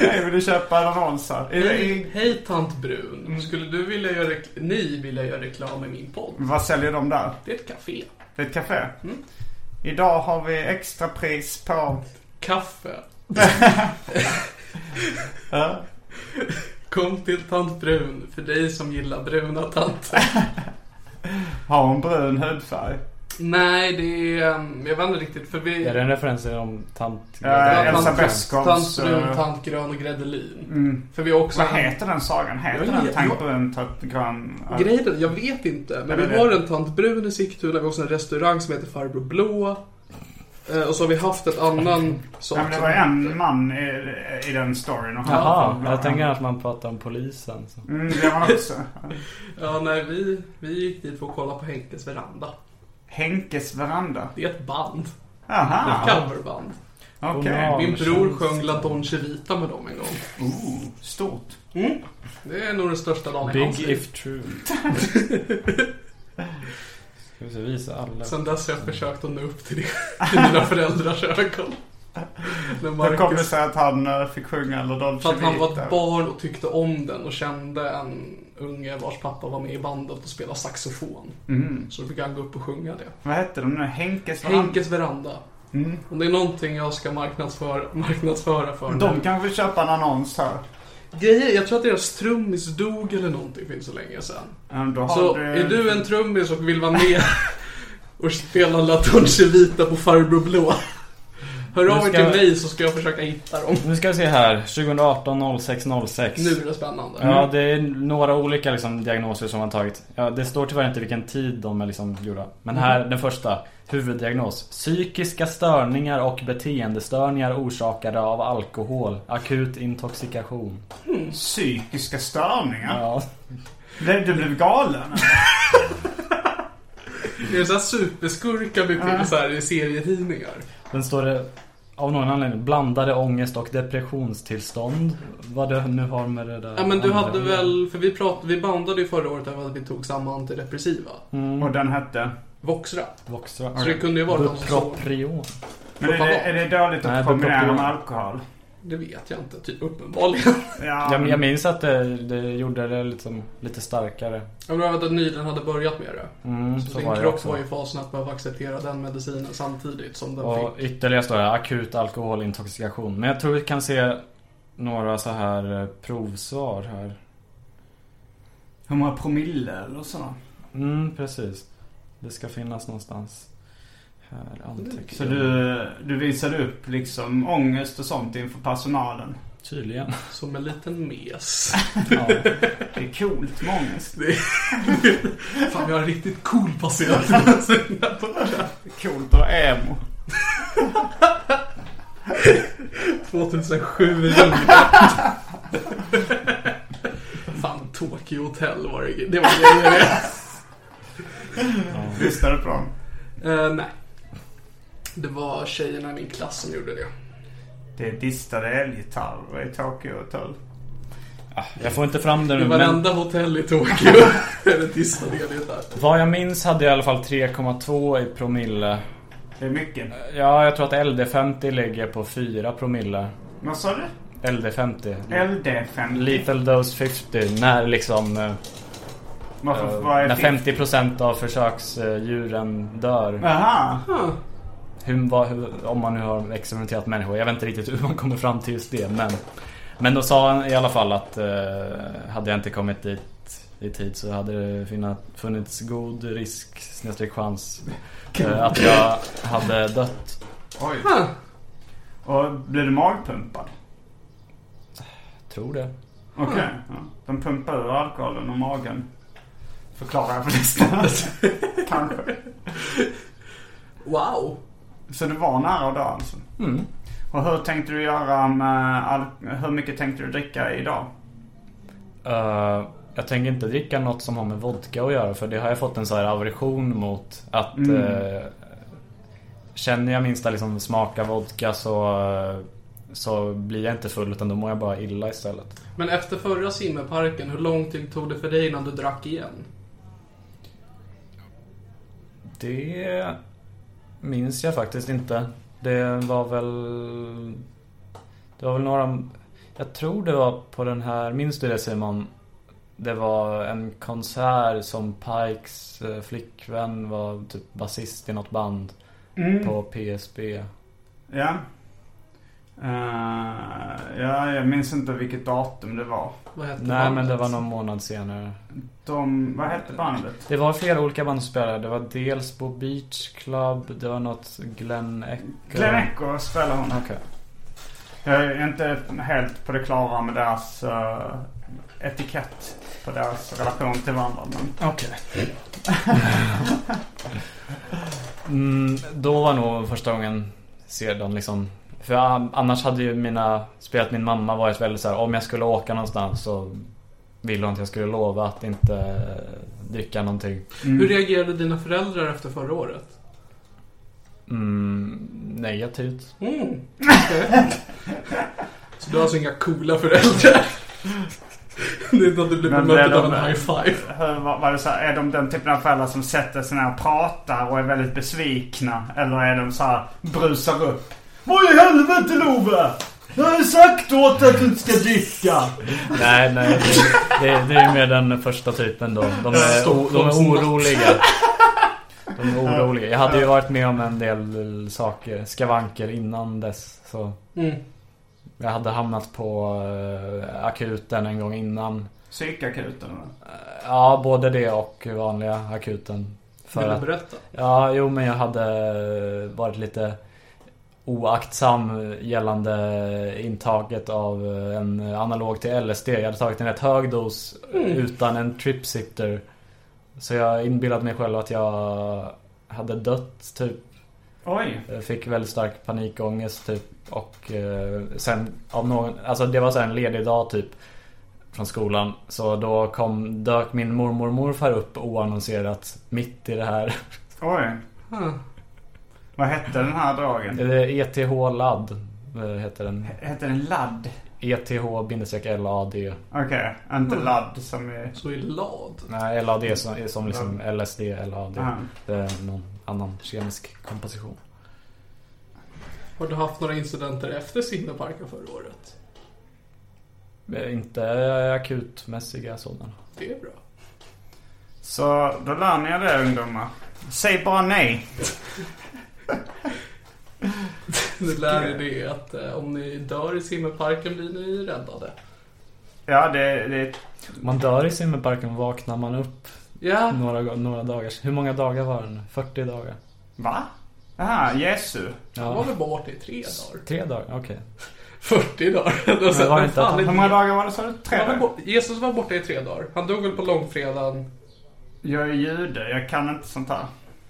Nej, vill du köpa en annons här? I, i, hej, Mm. hej tant Brun. Skulle du vilja göra, rekl- ni vilja göra reklam i min podd? vad säljer de där? Det är ett café. Det är ett café. Mm. Idag har vi extra pris på... Kaffe. Kom till tant Brun, för dig som gillar bruna tanter. Har hon brun hudfärg? Nej, det är... ehm, Jag vet inte riktigt, för vi... Är det en referens till om tant... Ja, Ja, Eh, Elsa tant- Beskows, Tant Brun, eh, mm. tant Grön och Gräddelin. För vi har också... Vad heter den sagan? Heter Jag den vet- Tank jag- brun, tant grön? Ja. Grejen är, jag vet inte. Men Nej, vi men har det- en Tant Brun i Sigtuna, vi har också en restaurang som heter Farbror Blå. Eh, Och så har vi haft ett annan sak Nej, men det som var heter- en man i, i den storyn. Och han Jaha, var- jag tänker att man pratar om polisen. Så. Mm, det var han också. Ja, nej, vi, vi gick dit för att kolla på Henkes veranda. Henkes veranda. Det är ett band. Ett Aha, coverband. okej. Ja, Min men bror känns- sjöng La Dolce Vita med dem en gång. Ooh, stort. Det är nog den största dagen i hans Big liv. if <laughs> true. Ska vi se, visa alla. Sen dess har jag försökt att nå upp till det i mina föräldrars ögon. När Hur kom det Marcus, sig att han eh, fick sjunga La Dolce för att han var Vita? ett barn och tyckte om den och kände en unge vars pappa var med i bandet och spelade saxofon. Så då fick han gå upp och sjunga det. Mm. Vad hette de nu? Henkes veranda? Mm. Henkes veranda. Om det är någonting jag ska marknadsföra, marknadsföra för De nu. kanske vill köpa en annons här. Grejen, jag tror att deras trummis dog eller någonting för inte så länge sedan. Mm, då har Så du- är du en trummis och vill vara med <laughs> och spela La Dolce Vita på Farbror Blå. Hör Nu av er ska till jag- mig så ska jag försöka hitta dem. Nu ska vi se här. 2018 06 06. Nu är det spännande. Ja, Mm. det är några olika liksom, diagnoser som man tagit. Ja, det står tyvärr inte vilken tid de är liksom, gjorda. Men här, den första. Huvuddiagnos. Psykiska störningar och beteendestörningar orsakade av alkohol. Akut intoxikation. Psykiska störningar? Ja. Du, du blev galen? Det är så här superskurkar vi till så här i serietidningar. Sen står det av någon anledning blandade ångest och depressionstillstånd. Vad det nu har med det där Ja men du andra hade att väl, för vi pratade, vi bandade ju förra året över att vi tog samma antidepressiva. Mm. Och den hette? Voxra. Voxra. Så det kunde ju vara någon som såg. Bupropion. Men är det, är det dåligt att Nej, kombinera bupropion. med alkohol? Det vet jag inte, typ uppenbarligen. Ja, Jag, jag minns att det, det gjorde det liksom, lite starkare. Jag menar att du nyligen hade börjat med det. Mm, Så, så din var det kropp också. var i fasen att behöva acceptera den medicinen samtidigt som den Och fick. ytterligare står det akut alkoholintoxikation. Men jag tror vi kan se några så här eh, provsvar här. Hur många promille eller så? Mm, precis. Det ska finnas någonstans. Här antecknar Så du, du visade upp liksom ångest och sånt inför personalen. Tydligen. Som en liten mes. <laughs> Ja. Det är coolt med ångest. Fan, vi har en riktigt cool patient. <laughs> Det är coolt att vara emo. 2007 i juni. Fan, Tokyo Hotel var det. Det var det. det. Lyssnade på dem. Eh, nej. Det var tjejerna i min klass som gjorde det. Mm, Det distade elgitarrer i Tokyo Hotel. Jag får inte fram det I nu men varenda hotell i <laughs> Tokyo är det distade där. vad jag minns hade jag i alla fall 3,2 i promille. Det är mycket. Ja, jag tror att LD50 ligger på 4 promille. Vad sa du? Mm. LD50. LD50? Lethal dose 50. När liksom... eh, Varför, vad När är 50? 50% av försöksdjuren dör. Aha. Hur, vad, hur, om man nu har experimenterat med människor. Jag vet inte riktigt hur man kommer fram till just det. Men, men då sa han i alla fall att eh, hade jag inte kommit dit i tid så hade det finna, funnits god risk, snedstreck chans, eh, att jag hade dött. Oj. Och blev du magpumpad? Tror det. Okej. Ja. De pumpar ur alkoholen och magen. Förklarar jag för lyssnarna. <laughs> Kanske. Wow! Så du var nära att dö alltså? Och hur tänkte du göra med al- Hur mycket tänkte du dricka idag? Eh, jag tänker inte dricka något som har med vodka att göra för det har jag fått en sån här aversion mot. Att eh, känner jag minsta liksom smak av vodka så, eh, så blir jag inte full utan då mår jag bara illa istället. Men efter förra simmeparken, hur lång tid tog det för dig innan du drack igen? Det minns jag faktiskt inte. Det var väl... Det var väl några... Jag tror det var på den här... Minns du det Simon? Det var en konsert som Pikes eh, flickvän var typ basist i något band Mm. på PSB. Ja. Eh, ja, jag minns inte vilket datum det var. Vad hette Nej men det bandet? var någon månad senare. De, vad hette bandet? Det var flera olika band som spelade. Det var dels på Beach Club, det var något Glenn Echo. Glenn Echo spelar hon. Okej. Jag är inte helt på det klara med deras eh, etikett på deras relation till varandra. Men Okej. mm, då var nog första gången sedan liksom. För jag, annars hade ju mina, spelat min mamma varit väldigt så här, om jag skulle åka någonstans så ville hon att jag skulle lova att inte eh, dricka någonting. Mm. Hur reagerade dina föräldrar efter förra året? Mm, negativt. Mm. <laughs> okej. Så du har alltså inga coola föräldrar? <laughs> Det är inte att du blir Men bemött det är av en de- high five. hur, vad, vad är, det så här, är de den typen av föräldrar som sätter sig ner och pratar och är väldigt besvikna? Eller är de så här brusar upp? Vad i helvete Love? Jag har ju sagt åt att du inte ska dricka! Nej, nej. Det, det, det är mer den första typen då. De är, o, de är oroliga. De är oroliga. Jag hade ju varit med om en del saker, skavanker innan dess. Så. Mm. Jag hade hamnat på eh, akuten en gång innan. Psykakuten. va? Eh, Ja, både det och vanliga akuten. För Vill du att, berätta? ja, jo men jag hade varit lite oaktsam gällande intaget av en analog till LSD. Jag hade tagit en rätt hög dos utan en tripsitter. Så jag inbillade mig själv att jag hade dött typ. Oj. Jag Eh, Fick väldigt stark panikångest typ. Och eh, sen av någon, alltså det var så här en ledig dag typ. Från skolan. Så då kom, dök min mormor och morfar upp oannonserat. Mitt i det här. Oj. Vad hette den här dragen? Eller ETH-ladd. E eh, Heter den. E Hette den ladd? ETH-LAD. Okej, inte ladd som är... Så i lad. Nej, LAD som, är som liksom LSD, LAD. Aha. Det är någon annan kemisk komposition. Har du haft några incidenter efter Signaparken förra året? Eh, Inte akutmässiga sådana. Det är bra. Så då lär ni er det ungdomar. Säg bara nej. Nu lär er det att eh, om ni dör i simmerparken blir ni räddade. Ja, det, det Man dör i simmerparken, vaknar man upp Ja, några, några dagar. Hur många dagar var det nu? 40 dagar? Va? Jaha, Jesu. jag var väl borta i tre dagar. <laughs> Tre dagar, okej. 40 dagar. <laughs> Och sen, var vad inte att- fan är Hur många dagar var det sa du? Tre Han var dagar? bort, Jesus var borta i tre dagar. Han dog väl på långfredagen. Jag är jude, jag kan inte sånt här.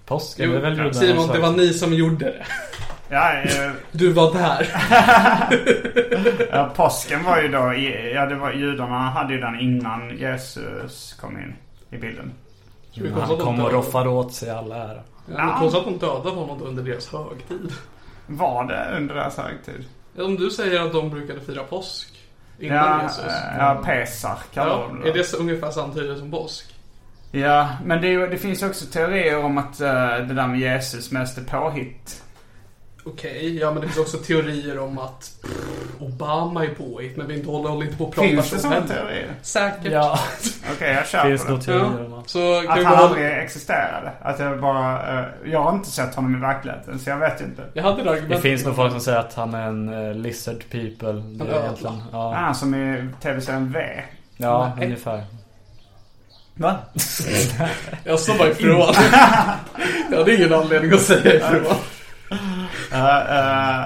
Påsk är väl judarnas Simon, det var högtid? ni som gjorde det. Ja, eh, Du var där. ja, påsken var ju då, i- ja det var judarna hade ju den innan Jesus kom in i bilden. Ska vi Men konstatera Han att kom de och dödade- roffade åt sig alla ära. Ja, men Konstigt att de dödade honom under deras högtid. Var det under deras högtid? Om du säger att de brukade fira påsk innan Ja, Jesus. eh, ja Pesach kallar Ja, de är det. det så, ungefär samtidigt som påsk? Ja, men det, är ju- det finns ju också teorier om att eh, det där med Jesus mest är påhitt. Okej, ja men det finns också teorier om att pff, Obama är påhitt men vi inte håller, håller inte på att prata Finns så det sådana men- teorier? Säkert. Ja, Okej, jag finns köper det. nog teorier om allt. Så kan vi Att han behålla- aldrig existerade. Att jag bara... eh, jag har inte sett honom i verkligheten, så jag vet ju inte. Jag hade ett Det argument. finns nog folk som säger att han är en eh, lizard people. Det ödla. är egentligen, ja, Ah, som i tv-serien V. ja ungefär. Va? Jag sa bara ifrån. jag hade ingen anledning att säga ifrån. Eh,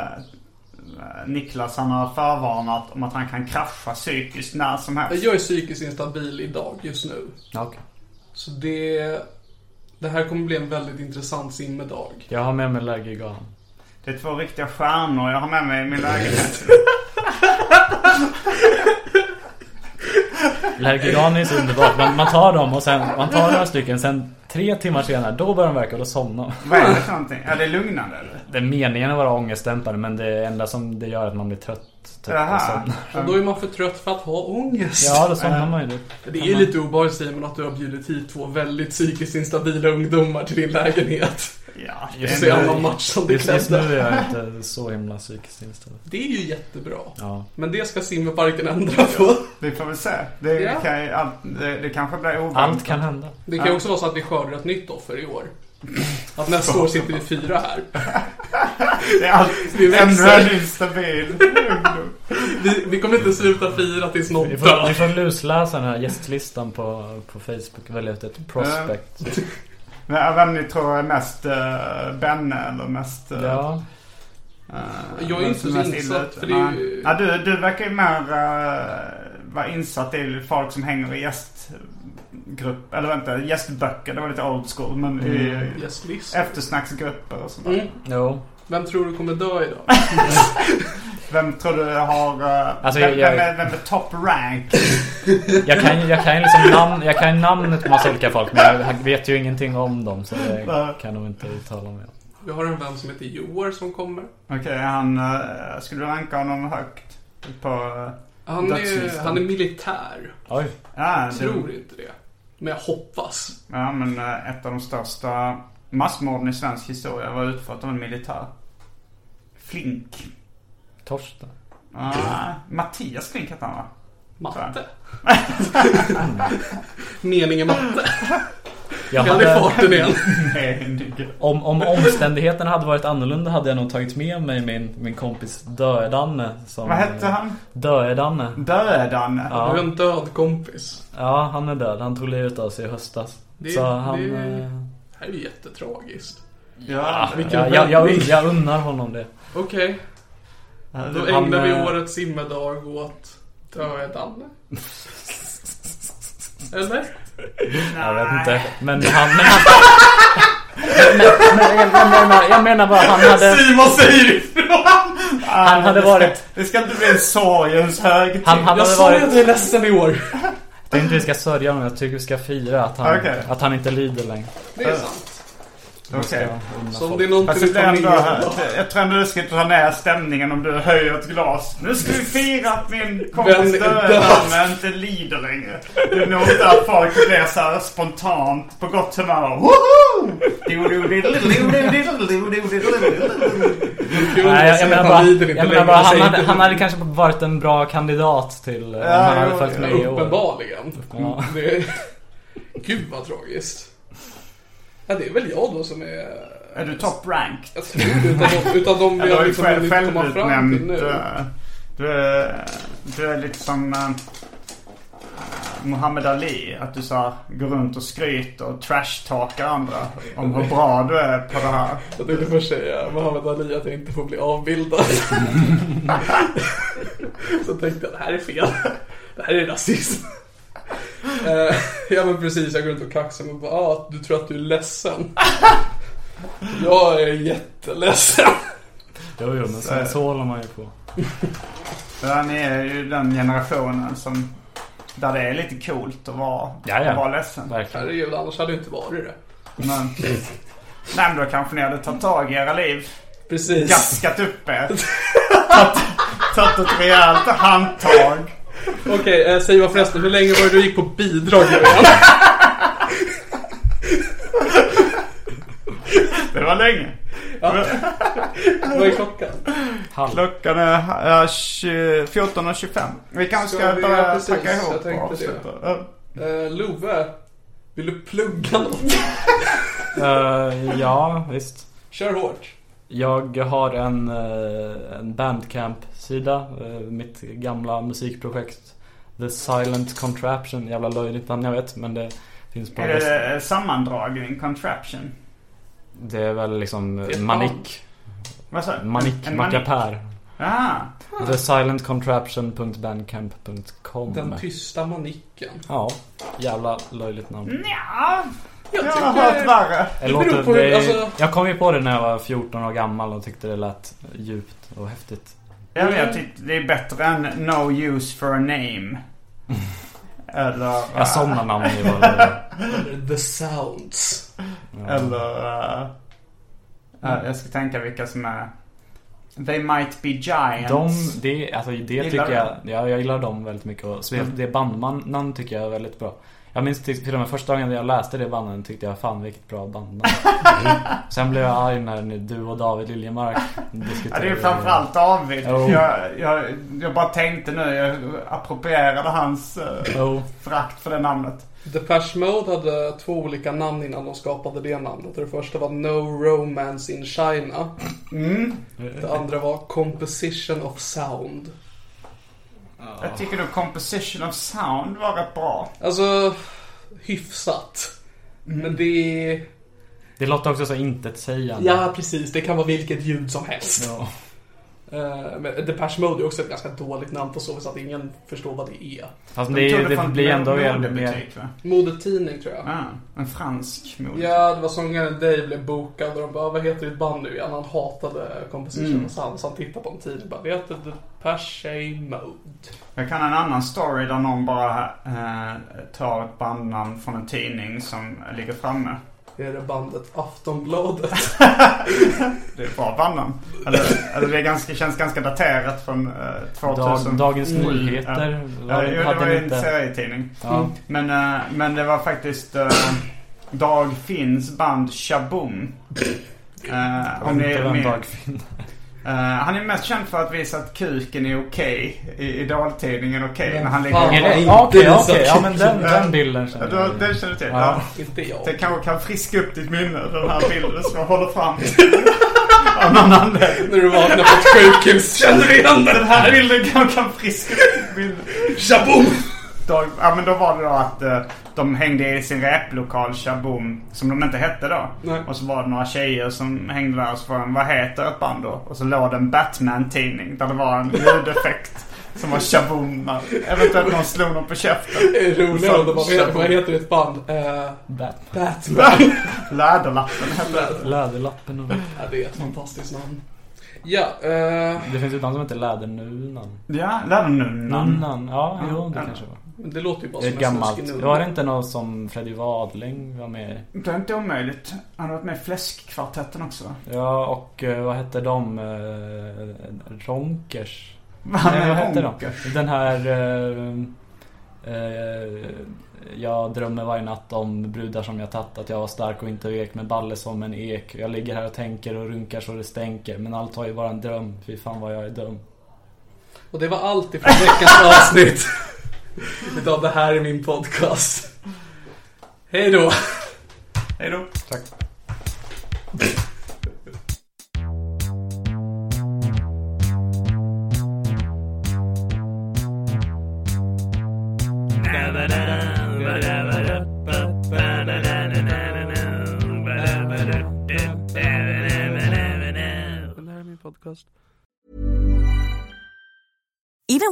Niklas han har förvarnat om att han kan krascha psykiskt när som helst. Jag är psykiskt instabil idag just nu. <laughs> Ja, okej. Så det... Det här kommer bli en väldigt intressant simmedag. Jag har med mig Lergigan. Det är två riktiga stjärnor jag har med mig i min lägenhet. Lergigan är så underbart. Man, man tar dem och sen, man tar några stycken. Sen tre timmar senare, då börjar de verka och då somnar man. Vad är det för någonting? Ja, det är lugnande eller? Det är meningen att vara ångestdämpande men det enda som det gör är att man blir trött. Typ, och Jaha. somnar. Och då är man för trött för att ha ångest. Ja, då somnar man ju. lite. Det är lite obehagligt Simon att du har bjudit hit två väldigt psykiskt instabila ungdomar till din lägenhet. Ja, Och det se är alla nog- matchande Just, just nu kläder. är jag inte så himla psykiskt inställd. Det är ju jättebra. Ja. Men det ska simmerparken ändra på. Vi får väl se. Det, Ja. kan, ju- allt, det, det kanske blir oväntat. Allt kan hända. Det kan ju också vara så att vi skördar ett nytt offer i år. <laughs> Att nästa år sitter vi fyra här. Det är allt. Vi Ännu växer. en instabil ungdom. Vi, vi kommer inte sluta fira tills någon Vi får, vi dör. får lusläsa den här gästlistan på, på Facebook och välja ut ett prospect. Men Vem ni tror är mest uh, Benne eller mest... eh, Ja. eh, Jag är vem inte som så mest illa insatt, ute? för det är Nej. ju- ja, du, du verkar ju mer uh, vara insatt i folk som hänger i gästgrupp. Eller vänta, gästböcker. Det var lite old school. Men i Gästlist. eftersnacksgrupper och sånt där. Mm. Jo. Vem tror du kommer dö idag? Vem tror du har... eh, Alltså, vem, jag- vem, är, vem är top rank? Jag kan ju jag kan ju liksom namn, jag kan ju namnet på massa olika folk men jag vet ju ingenting om dem så det kan nog inte uttala mig om. Vi har en vän som heter Joar som kommer. Okej, han... eh, skulle du ranka honom högt? På... eh, Han är, Dödslistan. han är militär. Oj. ja, Jag du- tror inte det. Men jag hoppas. Ja, men eh, ett av de största massmorden i svensk historia var utfört av en militär. Flink. Torsten. Ah, Mattias Flink hette han va? <laughs> Matte. Meningen matte. Jag Väl i farten igen. Om, om omständigheterna hade varit annorlunda hade jag nog tagit med mig min, min kompis Dödanne. Som, Vad hette han? Dödanne. Dödanne? Du är Ja, en död kompis. ja, han är död. Han tog livet av sig i höstas. Det- Så han... det- eh, Det här är ju jättetragiskt. Ja. Vilken Jag, jag, jag, vändning. jag unnar honom det. Okej, då Han, ägnar vi eh, årets simmedag åt dödan. Eller? Jag vet inte. Men han... Men han men, men, jag, jag, menar, jag menar bara han hade... Simon säger ifrån! Ah, Han hade varit- Det ska inte bli en sorgens högtid. Han, han Jag hade sa ju varit... att jag är ledsen i år. Jag tänkte vi ska sörja honom. Jag tycker vi ska fira att han, Okej. att han inte lider längre. Det är sant. Okej. Så om det är någonting Alltså, du det tar är ändå, med jag tror ändå du ska dra ner stämningen om du höjer ett glas. Nu ska vi fira att min kompis Vem är Dödanne inte lider längre. Det är nog inte att folk blir så här spontant på gott humör. Woho! Kul Nej, att jag, se jag att menar han bara, lider inte jag menar längre. bara Jag han, säger hade, inte han hade kanske varit en bra kandidat till eh, om han hade jo, följt med i år. Uppenbarligen. Mm, Det Gud vad tragiskt. Ja, det är väl jag då som är... Är du top ranked? Jag tror det, Utan de, utan de Du har jag ju liksom själv, hunnit komma fram till självutnämnt... nu. eh, Du är, du är lite som eh, Muhammad Ali. Att du så här, går runt och skryter och trashtalkar andra om hur bra du är på det här. Jag tänkte först säga Muhammad Ali att jag inte får bli avbildad. Så tänkte jag det här är fel. Det här är rasism. Eh, ja men precis, jag går runt och kaxar och bara ah, du tror att du är ledsen. jag är jätteledsen. Jo, jo, men så, så håller man ju på. Ja, ni är ju den generationen som... Där det är lite coolt att vara, Ja, ja. Att vara ledsen. Verkligen. Herregud, annars hade jag inte varit det. Men, nej men då kanske ni hade tagit tag i era liv. Precis. Gaskat upp er. Tagit- Tagit ett rejält handtag. Okej, eh, säg vad förresten, hur länge var det du gick på bidrag Julian? Det var länge. Vad är klockan? Klockan är eh, 20 14.25. Vi kanske ska, Ska vi- ja, börja precis. packa Jag ihop tänkte och det. avsluta. Ja. Eh, Love, vill du plugga något? Eh, ja, visst. Kör hårt. Jag har en, eh, en bandcamp-sida. eh, mitt gamla musikprojekt. The Silent Contraption. Jävla löjligt namn jag vet. Men det finns på... Är Det, det eh, sammandragning, contraption? det är väl liksom Det är eh, ett manik. Vad sa du? Manik. En manik. Mackapär. Ah, TheSilentContraption.bandcamp.com Den tysta manicken. Ja, jävla löjligt namn. ja, Jag jag har hört tycker... värre. Det beror låter, på hur- det, alltså- Jag kom ju på det när jag var 14 år gammal och tyckte det lät djupt och häftigt. Ja, men jag tyckte det är bättre än No use for a name. <laughs> Eller... Ja, sådana namn är ju bara löjliga. The sounds. Eller... eh, ja, jag ska tänka vilka som är... They might be giants. De, det, alltså det Gillar tycker du? Mm. jag, ja, jag gillar dem väldigt mycket och speciellt det bandnamn tycker jag är väldigt bra. Jag minns till, till och med första gången jag läste det bandet tyckte jag fan vilket <laughs> bra bandnamn. Sen blev jag arg när ni- du och David Liljemark Ja, diskuterade. det är framförallt David. Jo. Jag, jag, jag bara tänkte nu, jag approprierade hans eh, Jo. frakt för det namnet. Depeche Mode hade två olika namn innan de skapade det namnet. Det första var No Romance in China. Mm. Det andra var Composition of Sound. Jag tycker nog Composition of Sound var rätt bra. Alltså, hyfsat. Men det är... Det låter också så intetsägande. Ja, precis. Det kan vara vilket ljud som helst. Ja. Eh, Men Depeche Mode är också ett ganska dåligt namn på så vis att ingen förstår vad det är. Fast De tog det, det från blir en ändå mer... mer modebutik, va? Modetidning tror jag. Ja, en fransk modebutik. Ja, det var sångaren Dave blev bokad och de bara, vad heter ditt band nu igen? Han hatade Composition mm. Sound, så han tittade på en tidning och bara, det heter Depeche Mode. Jag kan en annan story där någon bara eh, tar ett bandnamn från en tidning som ligger framme. Det är det bandet <laughs> Aftonbladet. Det är ett bra bandnamn. Eller, eller det är ganska, känns ganska daterat från eh, 2000. dag, dagens Mm. Nyheter Ja. var, Ja, jo, det hade var ni ju en inte... serietidning. Ja. Men, eh, men det var faktiskt eh, Dag Finns band Shaboom. Eh, om Inte ni vem med, Dag Finn. Eh, han är mest känd för att visa att kuken är okej. I Idol-tidningen okej. Men när han fan, ligger är det och- inte Ja, Okej, Lisa okej. Ja, men den, Kudrow. den bilden Ja, känner då- jag. Den känner du till? Ja. Ja. Inte jag. Det kanske kan friska upp ditt minne, den här bilden som jag håller fram. Av någon anledning. När du vaknar på ett sjukhus. <laughs> Känner du igen Den den här här? bilden kanske kan friska upp ditt minne. Shaboom! Då, ja, men då var det då att eh, de hängde i sin replokal Shaboom, som de inte hette då. Nej. Och så var det några tjejer som hängde där och så frågade de, vad heter ett band då? Och så låg det en Batman-tidning där det var en ljudeffekt som var Shaboom. Eventuellt någon slog någon på käften. <laughs> Det är roligare om de bara, Shaboom. vet- vad heter ditt band? Eh, Bat- Batman. Läderlappen hette det. Läderlappen och... Ja, det är ett fantastiskt namn. Ja, eh, Det finns ett namn som heter Lädernunan. Ja, Lädernunnan. Nunnan? Mm. Ja, jo det kanske var. men det låter ju bara Det är som ett en gammalt. snuskig nunna. Var det inte någon som Freddy Wadling var med i? Det är inte omöjligt. Han har varit med i Fläskkvartetten också va? Ja, och eh, vad hette de? Eh, Ronkers? Vad Nej, vad hette de? Ronkers? Den här... Eh, eh, jag drömmer varje natt om brudar som jag tagit att jag var stark och inte vek med balle som en ek. Jag ligger här och tänker och runkar så det stänker. Men allt var ju bara en dröm. Fy fan vad jag är dum. Och det var allt ifrån veckans avsnitt. Utav det här är min podcast. Hej då! Hej då. Even